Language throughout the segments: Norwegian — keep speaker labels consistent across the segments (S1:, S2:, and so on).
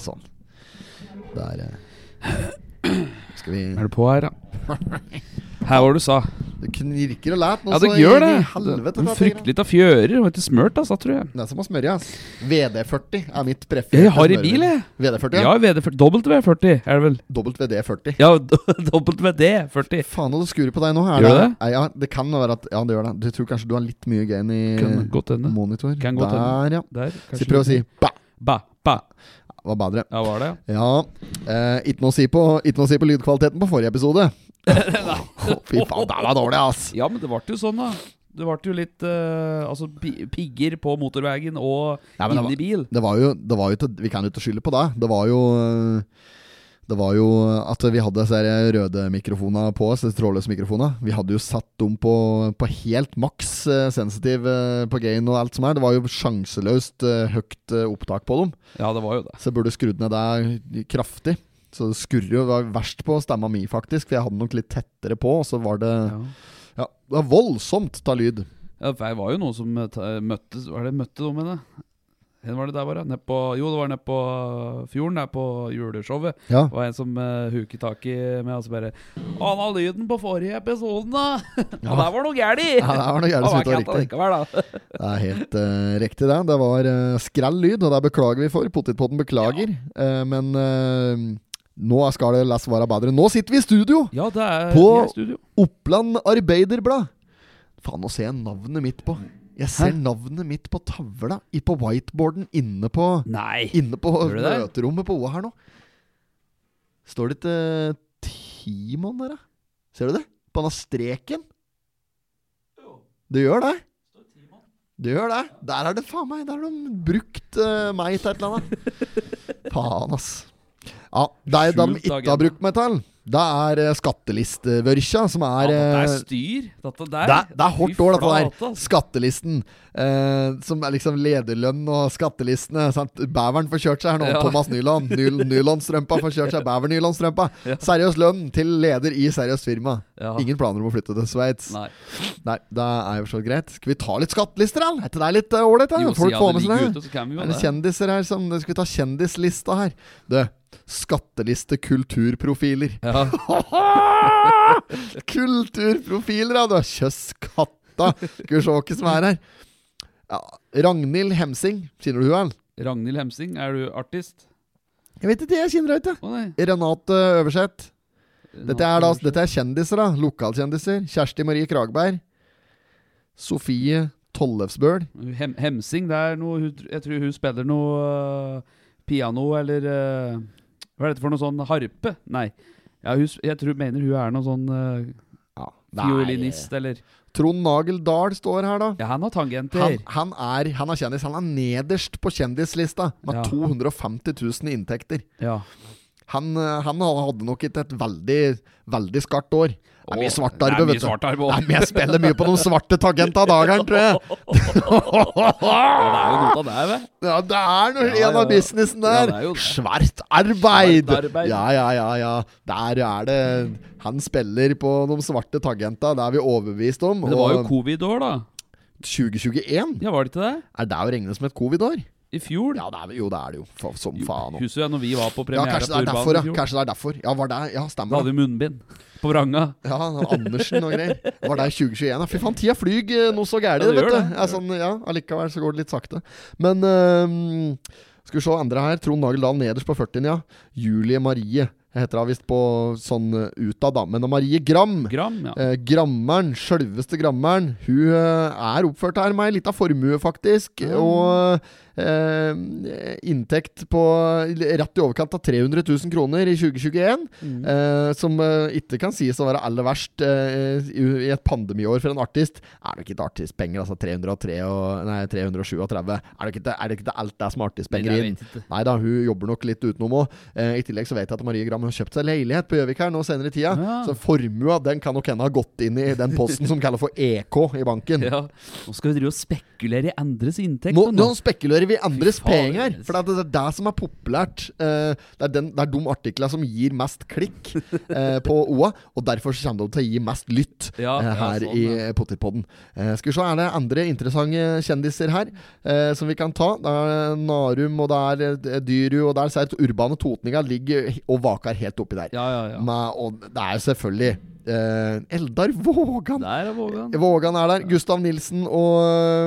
S1: Sånn. Der eh, Skal vi
S2: Er du på her, da? Her var det du sa.
S1: Det knirker og lært nå,
S2: Ja, det
S1: så
S2: gjør
S1: inn
S2: det.
S1: i helvete. for
S2: Den
S1: at jeg greier.
S2: fryktelig av fjører og ikke smørt, altså, tror jeg.
S1: Det er som å smøre, ass. VD40 er mitt prefererte
S2: Jeg har i
S1: smøremiddel.
S2: bil, jeg.
S1: VD40, ja.
S2: Ja, VD40. W40 er det vel.
S1: WD40.
S2: Ja, WD40.
S1: Faen, og det skurer på deg nå. Er
S2: Gjør
S1: det?
S2: det?
S1: Nei, Ja, det kan være at Ja, det gjør det. Du tror kanskje du har litt mye gain i
S2: Kan godt hende.
S1: monitor.
S2: Kan godt
S1: Der, ja.
S2: Der,
S1: Så prøv å Eh, si bæ.
S2: Ba, ba.
S1: Var bedre.
S2: Ja, var det, ja.
S1: Ja. eh, Ikke noe å si på Ikke noe å si på lydkvaliteten på forrige episode. Å, Fy faen, det var dårlig, ass.
S2: Ja, men det ble jo sånn, da. Det ble jo litt eh, altså, pi- pigger på motorveien og
S1: Ja, men det
S2: inne i bil.
S1: Det var jo, det var jo til, Vi kan jo ikke skylde på det. Det var jo øh, Det var jo at vi hadde disse her røde mikrofonene på oss, disse trådløse mikrofonene. Vi hadde jo satt dem på, på helt maks eh, sensitiv eh, på gain og alt som er. Det var jo sjanseløst eh, høyt eh, opptak på dem,
S2: Ja, det var jo det.
S1: så jeg burde skrudd ned det kraftig. Så det skurrer jo det var verst på stemma mi, faktisk, for jeg hadde den nok litt tettere på, og så var det
S2: Ja.
S1: Ja, det var voldsomt ta lyd.
S2: Ja, for det var jo noen som eh, ta- møttes Hva er det møtte de henne? Hvor var det der, bare? Ned på, jo, det var nede på fjorden, der på juleshowet.
S1: Ja.
S2: Det var en som uh, huket tak i med og så bare 'Han har lyden på forrige episoden, da!'
S1: Ja.
S2: og der var noe gæli!
S1: Ja, det var noe gærent som
S2: var
S1: ikke var
S2: ikke
S1: riktig.
S2: likevel, da.
S1: Det er helt eh, riktig, det. Det var uh, skrell lyd, og det beklager vi for. Potetpotten beklager. Eh, men eh, nå skal det la oss være bedre. Nå sitter vi i studio!
S2: Ja, det er
S1: På-
S2: vi er i studio.
S1: Oppland Arbeiderblad. Faen, nå ser jeg navnet mitt på Jeg ser
S2: Hæ?
S1: navnet mitt på tavla i- på whiteboarden inne på
S2: Nei!
S1: Inne på
S2: Gjør du det?
S1: møterommet på OA her nå. Står det ikke Timon der, da? Ser du det? På denne streken? Det gjør det. Det gjør det. Der er det faen meg Der har de brukt eh, meg til et eller annet. faen, ass. Ja, det er det de
S2: Skjult
S1: ikke har
S2: agenda.
S1: brukt meg til. Det er eh, skattelistevørkja, som
S2: Ja,
S1: er
S2: det
S1: eh,
S2: er styr. Dette der.
S1: det, er- det er
S2: Fy
S1: hardt år, dette
S2: flate,
S1: der.
S2: altså.
S1: Skattelisten. Eh, som er liksom lederlønn og skattelistene. Sant? Bæveren får kjørt seg her nå.
S2: Ja.
S1: Thomas Nyland. Ny- Nylonstrømpa får kjørt seg. Bæver-nylonstrømpa.
S2: Ja.
S1: Seriøs lønn til leder i seriøst firma.
S2: Ja.
S1: Ingen planer om å flytte til Sveits. Nei.
S2: Nei.
S1: det er jo så greit. Skal vi ta litt skattelister, da? Er ikke det litt eh, ålreit? da?
S2: Jo,
S1: Folk
S2: siden
S1: får
S2: det
S1: med
S2: ligger
S1: seg det.
S2: ute, så kan vi jo
S1: Er det
S2: det.
S1: kjendiser her som Skal vi ta kjendislista her? Du, skatteliste kulturprofiler.
S2: Ja.
S1: Kulturprofiler, ja! Du har kjøsskatta! Skal vi se hvem som er her. Ja, Ragnhild Hemsing. Kjenner du henne?
S2: Ragnhild Hemsing, er du artist?
S1: Jeg vet ikke, jeg kjenner henne ikke.
S2: Å nei.
S1: Renate Øverseth. Dette er, da, dette er kjendiser, da. Lokalkjendiser. Kjersti Marie Kragberg. Sofie Tollefsbøl.
S2: Hem Hemsing, det er noe hun- Jeg tror hun spiller noe øh, piano eller øh, Hva er dette for noe sånn harpe? Nei. Ja, hun, s- jeg tror, mener hun er noen sånn øh,
S1: Ja, det er-
S2: fiolinist eller
S1: Trond Nagel Dahl står her, da.
S2: Ja, han har tangenter.
S1: Han, han, er, han er kjendis. Han er nederst på kjendislista, med
S2: Ja.
S1: 250 000 i inntekter.
S2: Ja.
S1: Han, eh, han hadde nok ikke et veldig, veldig skarpt år. Det er mye svartarbeid,
S2: vet
S1: vet
S2: du.
S1: du.
S2: Svartarbe,
S1: Nei,
S2: også.
S1: men jeg spiller mye på noen svarte tagenter av dageren, tror jeg.
S2: Ja, det er jo noe av det, vet du.
S1: Ja, det er noe,
S2: Ja, ja,
S1: en av
S2: ja.
S1: businessen
S2: Ja,
S1: der.
S2: det er jo det.
S1: Svart arbeid.
S2: Svart arbeid.
S1: Ja, ja, ja, ja. Der er det Han spiller på de svarte tagenta, det er vi overbevist om.
S2: Men det var jo
S1: og
S2: covid-år, da.
S1: 2021,
S2: Ja, var det ikke det?
S1: er det å regne som et covid-år?
S2: I fjor?
S1: Ja, det er, jo, det er det jo. Fa- Som faen. også.
S2: Husker du det, når vi var på
S1: Ja,
S2: premiere
S1: kanskje det
S2: på
S1: er
S2: Urban
S1: derfor,
S2: i
S1: ja.
S2: fjor?
S1: Kanskje det er derfor. Ja, var det, ja
S2: Da
S1: stemmer det.
S2: hadde vi munnbind på vranga.
S1: Ja, Andersen og greier. Var det i 2021? da? Fy faen, tida flyg eh, noe så gærent,
S2: Ja, det
S1: vet du.
S2: gjør det.
S1: Ja, sånn, ja, allikevel så går det litt sakte. Men ehm, skal vi se andre her. Trond Nagel Dahl nederst på 40-en, ja. Julie Marie heter hun visst på sånn eh, ut av dammen. Og Marie Gram.
S2: Gram, ja.
S1: Eh, grammeren, sjølveste grammeren, hun eh, er oppført her med ei lita formue, faktisk.
S2: Mm.
S1: Og eh, inntekt på rett i overkant av 300 000 kroner i 2021.
S2: Mm.
S1: Eh, som eh, ikke kan sies å være aller verst eh, i, i et pandemiår for en artist. Er det ikke et artistpenger, altså 303 og, nei, 337? Er det ikke, det- er det ikke det alt det er som er
S2: Men
S1: artistpenger
S2: jeg
S1: inn?
S2: vet ikke.
S1: Nei da, hun jobber nok litt utenom òg. Eh, I tillegg så vet jeg at Marie Gram har kjøpt seg leilighet på Gjøvik her nå senere i tida.
S2: Ja.
S1: Så formua den kan nok hende ha gått inn i den posten som kalles for EK i banken.
S2: Ja. Nå skal vi drive og spekulere i andres inntekt.
S1: Nå,
S2: da,
S1: nå spekulerer arver vi andres
S2: Fy faen,
S1: penger.
S2: altså.
S1: For det er det er det som er populært. Eh, det, er den, det er de artiklene som gir mest klikk eh, på OA, og derfor så kommer de til å gi mest lytt
S2: Ja,
S1: eh,
S2: ja,
S1: her
S2: sånn,
S1: i
S2: ja.
S1: eh, Potterpodden. Eh, skal vi se, er det andre interessante kjendiser her eh, som vi kan ta? Det er Narum, og det er eh, Dyru, og der ser jeg at urbane totninga ligger og vaker helt oppi der.
S2: Ja, ja, ja.
S1: Men, og det er jo selvfølgelig eh, Eldar Vågan!
S2: Der er Vågan.
S1: Vågan er der. Gustav Nilsen og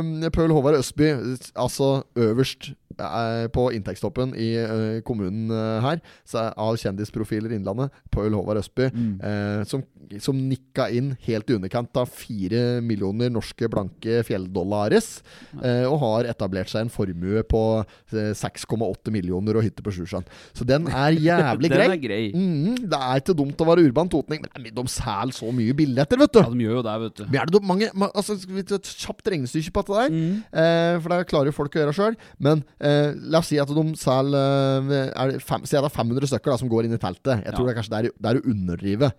S1: eh, Pøl Håvard Østby, eh, altså øverst eh, på inntektstoppen i eh, kommunen eh, her, så er- av kjendisprofiler i Innlandet, Pøl Håvard Østby,
S2: Mm.
S1: eh, som, som nikka inn helt i underkant av fire millioner norske blanke fjelldollares, eh, og har etablert seg en formue på eh, 6,8 millioner og hytte på Sjusjøen. Så den er jævlig grei.
S2: Den er grei.
S1: Mm, det er ikke dumt å være urban totning, men nei, de selger så mye billetter, vet du.
S2: Ja, de gjør jo det, vet du.
S1: Men er det da mange, ma- altså, skal vi ta et kjapt regnestykke på dette
S2: Mm.
S1: der? Eh, for det klarer jo folk å gjøre sjøl. Men eh, la oss si at de selger eh, er det fem- Si at det er 500 stykker da, som går inn i teltet. Jeg
S2: Ja.
S1: tror det er kanskje der, der å underdrive.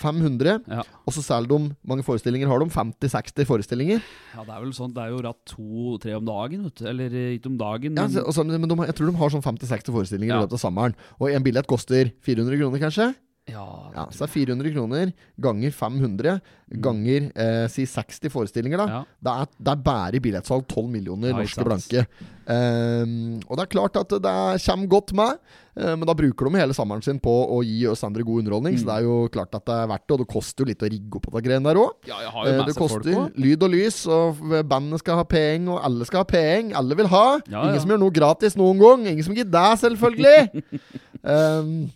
S1: 500,
S2: Ja.
S1: og så selger de mange forestillinger har de? 50-60 forestillinger?
S2: ja, det er vel sånn. Det er jo ratt to-tre om dagen, vet du. Eller eh, ikke om dagen,
S1: Ja,
S2: men
S1: så, og så, men de, har- jeg tror de har sånn 50-60 forestillinger
S2: Ja.
S1: i løpet av sommeren. Og en billett koster 400 kroner, kanskje?
S2: Ja,
S1: Ja, Så det er 400 kroner ganger 500
S2: Mm.
S1: ganger eh, si 60 forestillinger, da.
S2: ja.
S1: Det er, det er bare i billettsalg 12 millioner
S2: Ja,
S1: norske
S2: ikke
S1: blanke. Ehm, og det er klart at det er- kommer godt med, eh, men da bruker de hele sommeren sin på å gi oss andre god underholdning. Så
S2: Mm.
S1: det er jo klart at det er verdt det, og det koster jo litt å rigge opp på de greiene der òg.
S2: ja, jeg har jo
S1: Eh, Det
S2: med seg folk
S1: koster
S2: òg.
S1: lyd og lys, og bandet skal ha penger, og alle skal ha penger. Alle vil ha.
S2: Ja,
S1: Ingen
S2: ja.
S1: som gjør noe gratis noen gang. Ingen som gir deg, selvfølgelig. Ehm,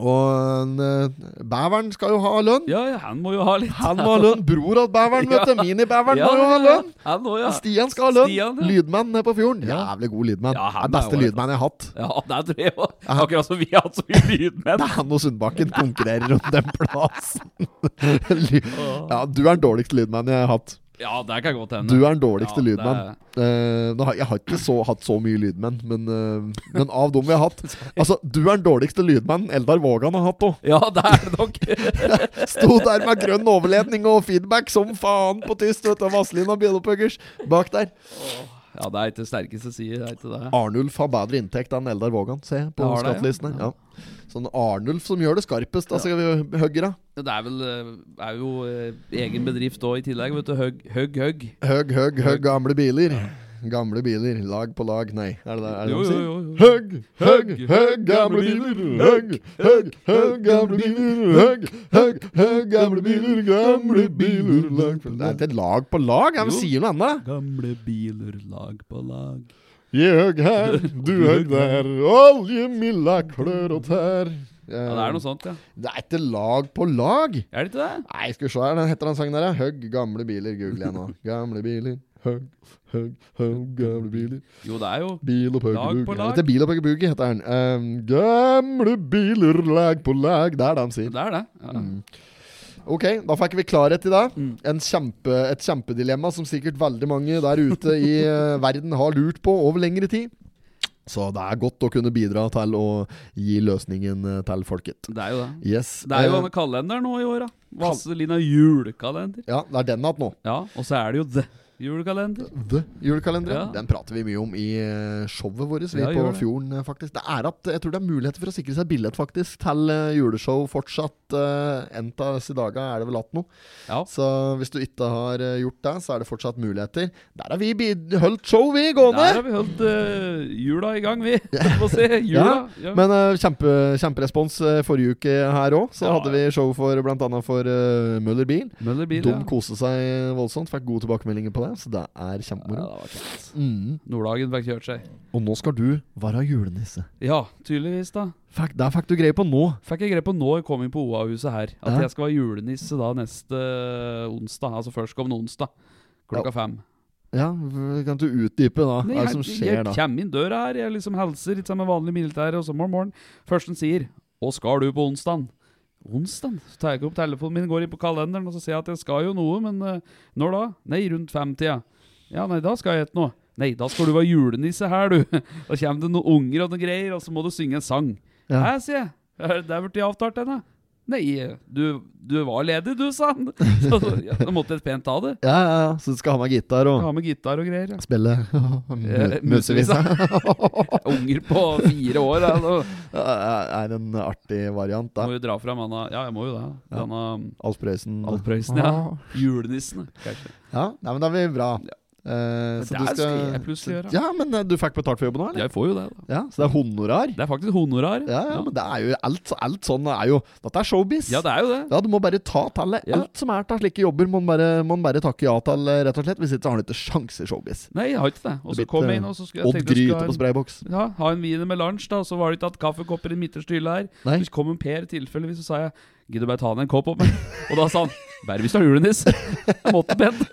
S1: og eh, beveren skal jo ha lønn.
S2: Ja, ja, han må jo ha litt.
S1: Han må ha lønn. Bror av beveren, vet du. Minibeveren
S2: ja,
S1: må jo ha lønn.
S2: Han òg, ja.
S1: Stian skal ha lønn!
S2: Stian, ja.
S1: Lydmann nede på fjorden.
S2: Ja.
S1: Jævlig god lydmann.
S2: Ja,
S1: det
S2: han
S1: er beste
S2: er ålreit.
S1: lydmann jeg har hatt.
S2: Ja, det tror jeg òg. Akkurat som vi har hatt så mye lydmenn.
S1: Det er han og Sundbakken konkurrerer om den plassen. Ly- ja, du er den dårligste lydmannen jeg har hatt.
S2: Ja, det kan godt hende.
S1: Du er den dårligste
S2: Ja, det-
S1: lydmannen. Eh, nå har- jeg har ikke så, hatt så mye lydmenn, men, eh, men av dem jeg har hatt Altså, du er den dårligste lydmannen Eldar Vågan har hatt òg.
S2: Ja, det er det nok.
S1: Sto der med grønn overledning og feedback som faen på tyst, vet du. Vazelina Bjellopuggers bak der.
S2: Ja, det er ikke sterkeste side, det er ikke det.
S1: Arnulf har bedre inntekt enn Eldar Vågan, ser jeg på
S2: Det har det, ja.
S1: skattelistene. Ja. Sånn Arnulf som gjør det skarpest, da skal vi høgge, da.
S2: Det er vel eh, er jo eh, egen bedrift òg i tillegg, vet du. Høgg, høgg, høgg.
S1: Høgg, høgg, høgg gamle biler. Gamle biler, lag på lag, nei. Er det det er det
S2: Jo,
S1: de
S2: jo,
S1: sier?
S2: jo, jo.
S1: Høgg, høgg, høgg gamle biler. Høgg, høgg, høgg gamle biler. Høgg, høgg, høgg gamle biler. Gamle biler, lag på lag. Det er lag på lag,
S2: Jo.
S1: han sier noe annet.
S2: Gamle biler, lag på lag.
S1: Jeg høgg her, du høgg der. Olje, milda klør og tær.
S2: Ja, det er noe sånt, ja.
S1: Det er ikke lag på lag.
S2: Er det ikke det?
S1: Nei, skal vi se her, den heter den sangen der, ja. Høgg gamle biler, googler jeg nå. Gamle biler, høgg, høgg, høgg gamle biler.
S2: Jo, det er jo
S1: Bil og
S2: Lag på
S1: pøkeboogie.
S2: lag.
S1: Dette er Bil og pøkeboogie, heter den. Ehm, gamle biler, lag på lag. Det er det de sier. Mm.
S2: Det er det. Ja.
S1: Ok, da fikk vi klarhet i det.
S2: Mm.
S1: En kjempe, et kjempedilemma som sikkert veldig mange der ute i eh, verden har lurt på over lengre tid. Så det er godt å kunne bidra til å gi løsningen eh, til folket.
S2: Det er jo det.
S1: Yes.
S2: Det er jo
S1: eh,
S2: denne kalenderen nå i år, da. Vazelina julekalender.
S1: ja, det er den igjen nå.
S2: Ja, og så er det jo The Julekalender.
S1: The julekalenderen.
S2: Ja.
S1: Den prater vi mye om i eh, showet vårt vi
S2: Ja,
S1: på
S2: gjør det.
S1: Fjorden, eh, faktisk. Det er at eh, jeg tror det er muligheter for å sikre seg billett, faktisk, til eh, juleshow fortsatt. Uh, en av disse dagene er det vel att noe.
S2: Ja.
S1: Så hvis du ikke har eh, gjort det, så er det fortsatt muligheter. Der har vi bid- holdt show, vi, gående!
S2: Der har vi holdt eh, jula i gang, vi. Få se. Jula. Ja.
S1: Men eh, kjempe, kjemperespons eh, forrige uke her òg. Så
S2: Ja,
S1: hadde vi show for bl.a. for eh, Møller Bil.
S2: Møller bil,
S1: De
S2: ja.
S1: koste seg voldsomt, fikk gode tilbakemeldinger på det. Så det er kjempemoro.
S2: Ja, det var kjent.
S1: Mm.
S2: Nordhagen fikk kjørt seg.
S1: Og nå skal du være julenisse.
S2: Ja, tydeligvis, da.
S1: Fikk, der fikk du greie på nå.
S2: Fikk jeg greie på nå jeg kom inn på OA-huset her, at
S1: Ja.
S2: jeg skal være julenisse da neste onsdag. Altså førstkommende onsdag klokka fem.
S1: Ja, v- Kan du utdype, da?
S2: Nei,
S1: Hva er det som
S2: jeg-
S1: skjer da?
S2: Jeg kommer inn døra her, jeg liksom hilser litt sammen med vanlig militære, og så morgen, morgen. Først han sier 'Hva skal du på onsdag?' Onsdag? Så tar jeg opp telefonen min, går inn på kalenderen og så ser jeg at jeg skal jo noe, men eh, når da? Nei, rundt femtida. Ja, nei, da skal jeg et noe. Nei, da skal du være julenisse her, du. Da kommer det noen unger og noen greier, og så må du synge en sang.
S1: Ja.
S2: Hæ, sier jeg. Er- Det er blitt avtalt, denne. Nei, du, du var ledig, du, sa han. Så ja, da måtte jeg pent ta det.
S1: Ja, ja, ja. Så du skal ha med gitar og
S2: Ha med gitar og greier. Ja.
S1: spille
S2: Eh,
S1: musevisa?
S2: Unger på fire år. Ja, da
S1: er en artig variant, da.
S2: må jo dra fram han Ja, jeg må jo det.
S1: Ja. Mm. Ah.
S2: Han
S1: Alf Prøysen.
S2: Alf Prøysen, ja. Julenissen, kanskje.
S1: Ja, nei, men da er vi bra. Eh,
S2: Men
S1: så
S2: det
S1: du
S2: skal
S1: skal
S2: jeg plutselig gjøre.
S1: Ja, men eh, du fikk betalt for jobben nå, eller?
S2: Jeg får jo det, da.
S1: Ja, så det er honorar?
S2: Det er faktisk honorar.
S1: Ja, ja, men det er jo alt, alt sånn er jo Dette er showbiz.
S2: Ja, det er jo det.
S1: Ja, du må bare ta tallet.
S2: Ja.
S1: Alt som er av slike jobber, må man bare, må man bare takke ja til, eh, rett og slett. Hvis ikke så har du ikke sjans i showbiz.
S2: Nei, jeg har ikke det. Og
S1: Det
S2: så
S1: blir
S2: kom
S1: ikke
S2: jeg inn, og så skulle jeg
S1: Odd
S2: tenkte
S1: Gryte
S2: jeg skulle ha
S1: på
S2: en,
S1: sprayboks.
S2: ja, ha en wiener med lunsj, da. Så var det ikke tatt kaffekopper i midterste hylle her.
S1: Nei.
S2: Så kom en Per tilfeldigvis, og sa jeg Gidder du bare ta ned en kopp opp meg? Og da sa han Bare hvis du har julenisse. Jeg måtte pent.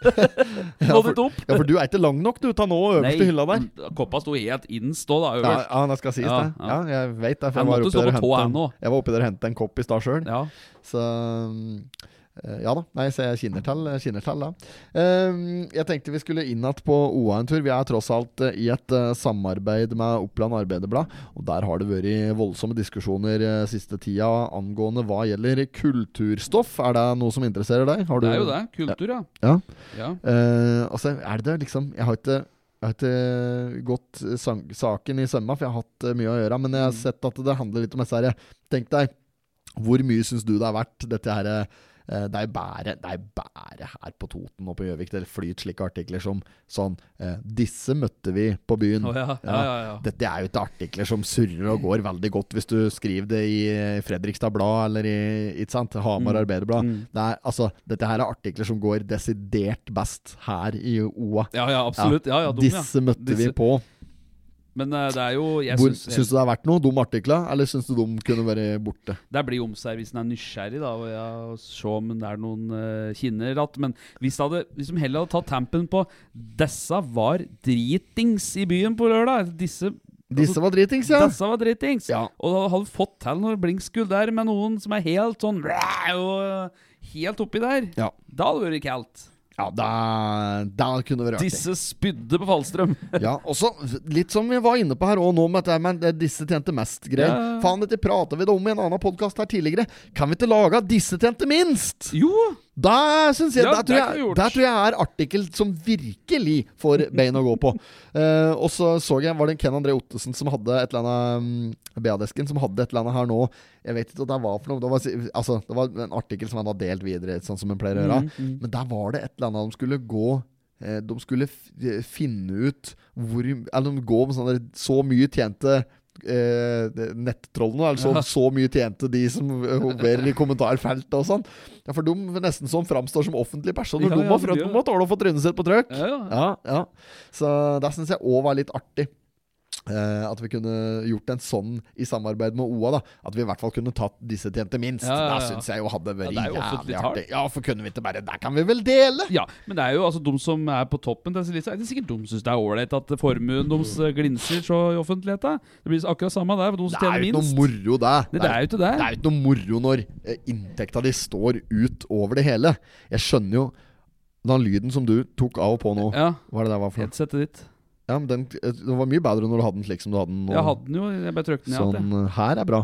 S1: Ja,
S2: Nådde
S1: for-
S2: ikke opp.
S1: Ja, for du er ikke lang nok, du. Ta nå øverste hylla der.
S2: mm, Koppa sto helt innst da, da
S1: Ja,
S2: øverst.
S1: ja, det skal sies,
S2: Ja,
S1: det. Ja,
S2: ja.
S1: jeg vet det. For
S2: Jeg
S1: jeg, var
S2: måtte
S1: oppi
S2: stå
S1: der og
S2: på tå, jeg
S1: hentet en-
S2: nå.
S1: jeg var oppi der og hentet en kopp i stad sjøl.
S2: Ja.
S1: Så um, eh, ja da. Nei, så jeg kjenner til, jeg kjenner til da. Um, jeg tenkte vi skulle inn igjen på OA en tur. Vi er tross alt eh, i et eh, samarbeid med Oppland Arbeiderblad, og der har det vært voldsomme diskusjoner eh, siste tida angående hva gjelder kulturstoff. Er det noe som interesserer deg? Har du,
S2: Det er jo det. Kultur, ja.
S1: Ja.
S2: ja.
S1: Eh, altså, er det liksom Jeg har ikke jeg har ikke gått sang, saken i sømma, for jeg har hatt eh, mye å gjøre. Men jeg har
S2: Mm.
S1: sett at det handler litt om disse her Tenk deg, hvor mye syns du det er verdt, dette her eh, Det er bare, det er bare her på Toten og på Gjøvik det flyter slike artikler som sånn eh, Disse møtte vi på byen.
S2: Å, ja. Ja, ja, ja.
S1: Dette er jo ikke artikler som surrer og går veldig godt hvis du skriver det i eh, Fredrikstad Blad eller i ikke sant? Hamar
S2: Mm.
S1: Arbeiderblad.
S2: Mm.
S1: Det er, altså, dette her er artikler som går desidert best her i OA.
S2: Ja, ja, absolutt. Ja, ja, dum, ja.
S1: Disse møtte vi
S2: Disse-
S1: på.
S2: Men eh, det er jo jeg
S1: Hvor,
S2: synes,
S1: syns du det er verdt noe, de artiklene, eller syns du de kunne vært borte?
S2: Det blir jo om seg hvis en er nysgjerrig, da, og ja, og se om det er noen eh, kinner att. Men hvis, det hadde, hvis de heller hadde tatt tampen på 'Disse var dritings i byen på lørdag'. Disse,
S1: Disse var dritings, ja.
S2: disse var dritings.
S1: Ja.
S2: Og da hadde fått til noen blinkskudd der med noen som er helt sånn og eh, Helt oppi der.
S1: Ja.
S2: Da hadde det vært kaldt.
S1: ja da, da kunne det vært artig.
S2: Disse spydde på Fallstrøm.
S1: Ja, også litt som vi var inne på her òg nå, med dette her, men det er disse tjente mest-greier.
S2: Ja.
S1: Faen, dette prata vi da om i en annen podkast her tidligere. Kan vi ikke lage at 'disse tjente minst'?
S2: Jo!
S1: Da synes jeg,
S2: Ja,
S1: der,
S2: det
S1: tror
S2: kunne vi
S1: jeg
S2: gjort.
S1: der tror jeg er artikkel som virkelig får bein å gå på. Eh, og så så jeg var det en Ken André Ottesen som hadde et eller annet um, BA-desken som hadde et eller annet her nå. Jeg vet ikke hva det var for noe. Det var, si- altså, det var en artikkel som han hadde delt videre, sånn som en pleier å gjøre.
S2: Mm,
S1: Men der var det et eller annet de skulle gå eh, De skulle f eh, finne ut hvor Eller de gå med sånne der, så mmye tjente eh, det- nettrollene, eller så,
S2: Ja.
S1: så mye tjente de som eh, hoverer i kommentarfeltet og sånn. Ja, for de nesten som framstår som offentlige personer.
S2: Ja,
S1: de
S2: ja,
S1: må,
S2: det
S1: frø-
S2: gjør
S1: de
S2: det.
S1: må tåle å få trynet sitt på trøkk.
S2: Ja, ja.
S1: Ja, ja. Så det syns jeg òg var litt artig. eh, at vi kunne gjort en sånn i samarbeid med OA. da At vi i hvert fall kunne tatt disse tjente minst.
S2: Ja, ja, ja.
S1: Det syns jeg jo hadde vært
S2: Ja, det er jo
S1: jævlig
S2: offentlig tall.
S1: artig. Ja, for kunne vi ikke bare Der kan vi vel dele!
S2: Ja, men det er jo altså de som er på toppen disse lista, Det er sikkert de som syns det er ålreit at formuen deres eh, glinser så i offentligheten. Det blir akkurat samme der, for de som
S1: Mm. Det er
S2: tjener
S1: jo ikke
S2: minst.
S1: noe moro, det.
S2: Nei, det er jo ikke det.
S1: Det er jo ikke noe moro når eh, inntekta di står ut over det hele. Jeg skjønner jo den lyden som du tok av og på nå.
S2: Ja,
S1: Hva er det der var for noe?
S2: headsetet ditt.
S1: Ja, men den, eh, det var mye bedre når du hadde den slik som du hadde den nå.
S2: Jeg hadde den jo, jeg bare trykte den i alt. jeg.
S1: sånn eh, her er bra.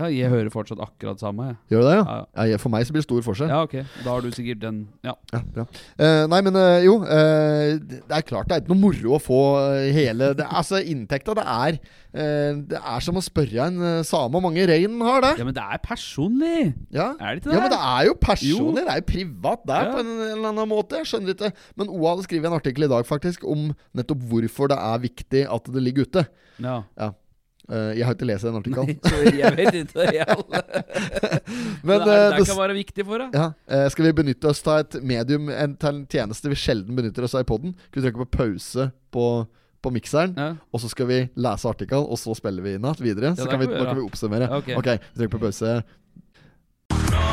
S2: Ja, jeg hører fortsatt akkurat samme, jeg.
S1: Gjør det det, ja?
S2: Ja, ja.
S1: ja? jeg- For meg så blir det stor forskjell.
S2: ja, ok. Da har du sikkert den Ja.
S1: Ja, bra. Eh, nei, men eh, jo. eh, det det er klart det er ikke noe moro å få eh, hele det, Altså, inntekta, det er eh, Det er som å spørre en eh, same hvor mange rein den har, det.
S2: ja men det er personlig!
S1: Ja.
S2: Er det ikke det?
S1: Ja, men det er jo personlig. Det er jo privat der
S2: Ja.
S1: på en eller annen måte. Jeg skjønner ikke. Men OA hadde skrevet en artikkel i dag faktisk om nettopp hvorfor det er viktig at det ligger ute.
S2: Ja.
S1: Eh, jeg har ikke lest den artikkelen.
S2: Så jeg vet ikke jeg alle.
S1: Men
S2: det, er,
S1: eh,
S2: det
S1: det
S2: kan være viktig for deg.
S1: ja, eh, skal vi benytte oss av et medium, en til en tjeneste vi sjelden benytter oss av i poden? Skal vi trykke på pause på, på mikseren,
S2: Ja.
S1: og så skal vi lese artikkelen, og så spiller vi inn igjen videre? Så
S2: det
S1: kan vi,
S2: kan
S1: nå
S2: vi gjøre.
S1: kan vi oppsummere.
S2: Ja, ok.
S1: ok, vi trykker på pause.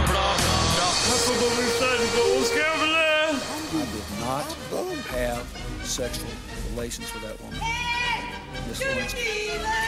S3: That's what we said, but let's give it a-
S4: not have sexual relations with that woman. Miss Lewinsky.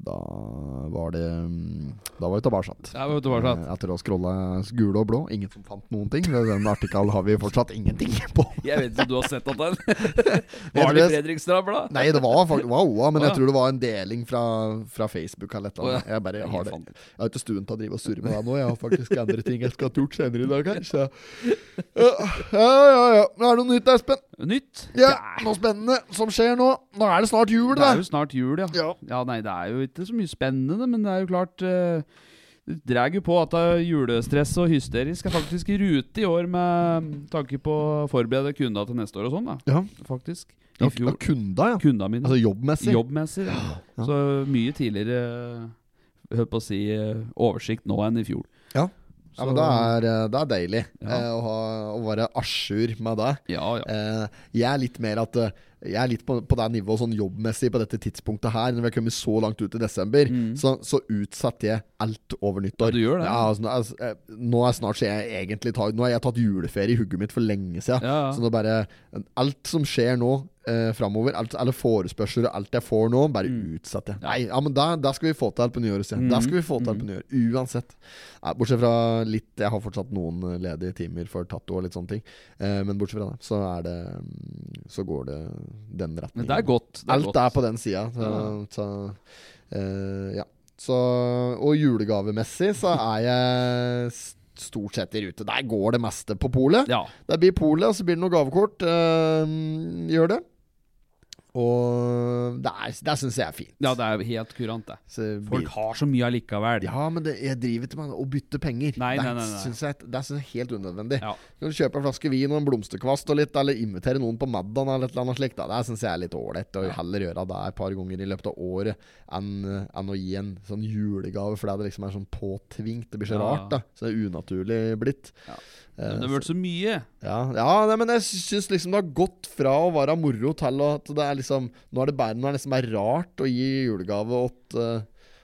S1: Da var det mm, Da var vi tilbake.
S2: Ja, vet du hva det er?
S1: Eh, Etter å ha scrolla gule og blå. Ingen som fant noen ting. Ved den artikkelen har vi fortsatt ingenting på.
S2: Jeg vet ikke om du har sett at den
S1: tror
S2: Var det
S1: jeg-
S2: Fredrikstad-blad?
S1: Nei, det var faktisk Wow, ja, men
S2: Å, ja.
S1: jeg tror det var en deling fra, fra Facebook eller et eller annet.
S2: Å, ja.
S1: Jeg bare har det
S2: Helt
S1: Jeg har ikke stuen til å drive og surre med deg nå. Jeg har faktisk andre ting jeg skal ha gjort senere i dag her, så Ja, ja, ja. ja. Nå er det noe nytt, Espen.
S2: Nytt?
S1: Ja, noe spennende som skjer nå. Nå er det snart jul,
S2: Det
S1: da.
S2: er jo snart jul, ja. ja.
S1: Ja.
S2: Nei, det er jo ikke så mye spennende, men det er jo klart eh, Det drar jo på at det er julestress og hysterisk er faktisk i rute i år med tanke på å forberede kunda til neste år og sånn, da.
S1: Ja.
S2: Faktisk.
S1: Ja,
S2: I
S1: f- ja,
S2: fjor.
S1: kunda, ja.
S2: Kunda mine.
S1: Altså jobbmessig.
S2: Jobbmessig. da.
S1: Ja.
S2: Så mye tidligere eh, Hørt på å si eh, oversikt nå enn i fjor.
S1: Ja. Ja, men det er, eh, det er deilig
S2: Ja.
S1: eh, å, ha, å være à jour med det.
S2: Ja, ja.
S1: Eh, jeg er litt mer at eh, Jeg er litt på, på det nivået sånn jobbmessig på dette tidspunktet her. Når vi har kommet så langt ut i desember, så, så utsetter jeg alt over nyttår.
S2: Mm. Ja, du gjør det.
S1: Ja, altså, nå, er, eh, nå er snart så jeg egentlig tar, Nå har jeg tatt juleferie i hugget mitt for lenge siden.
S2: Ja, ja.
S1: Så nå bare Alt som skjer nå eh, framover, alt, alle forespørsler og alt jeg får nå, bare
S2: Mm.
S1: utsetter jeg. Nei, ja, men da, da skal vi få til på nyåret. sier jeg. Da skal vi få til på
S2: Mm.
S1: nyåret, uansett. Nei, bortsett fra litt Jeg har fortsatt noen eh, ledige timer for tatto og litt sånne ting. Eh, men bortsett fra det, så er det mm, Så går det den retningen.
S2: Men det er godt. Det er
S1: alt
S2: godt.
S1: er på den sida. Så, så eh, ja. Så, og julegavemessig så er jeg s- stort sett i rute. Der går det meste på polet.
S2: Ja.
S1: Det blir polet, og så blir det noen gavekort. eh, gjør det. Og det, er- det syns jeg er fint.
S2: ja, det er helt kurant, det.
S1: Så blir-
S2: Folk har så mye allikevel.
S1: ja, men det, jeg driver ikke med å bytte penger.
S2: Nei,
S1: det
S2: nei, nei, nei.
S1: syns jeg, det synes jeg er helt unødvendig.
S2: Ja.
S1: Du kan kjøpe en flaske vin og en blomsterkvast og litt, eller invitere noen på middag eller et eller annet slikt. da. Det syns jeg er litt ålreit. Og heller gjøre det et par ganger i løpet av året enn enn å gi en sånn julegave fordi det liksom er sånn påtvingt. Det blir så
S2: Ja.
S1: rart, da. Så det er unaturlig blitt.
S2: Ja.
S1: Eh,
S2: Men det har vært så mye.
S1: ja, ja nei, men jeg syns liksom det har gått fra å være moro til at det er liksom Nå er det bare, nå er det liksom bare rart å gi julegave åt eh,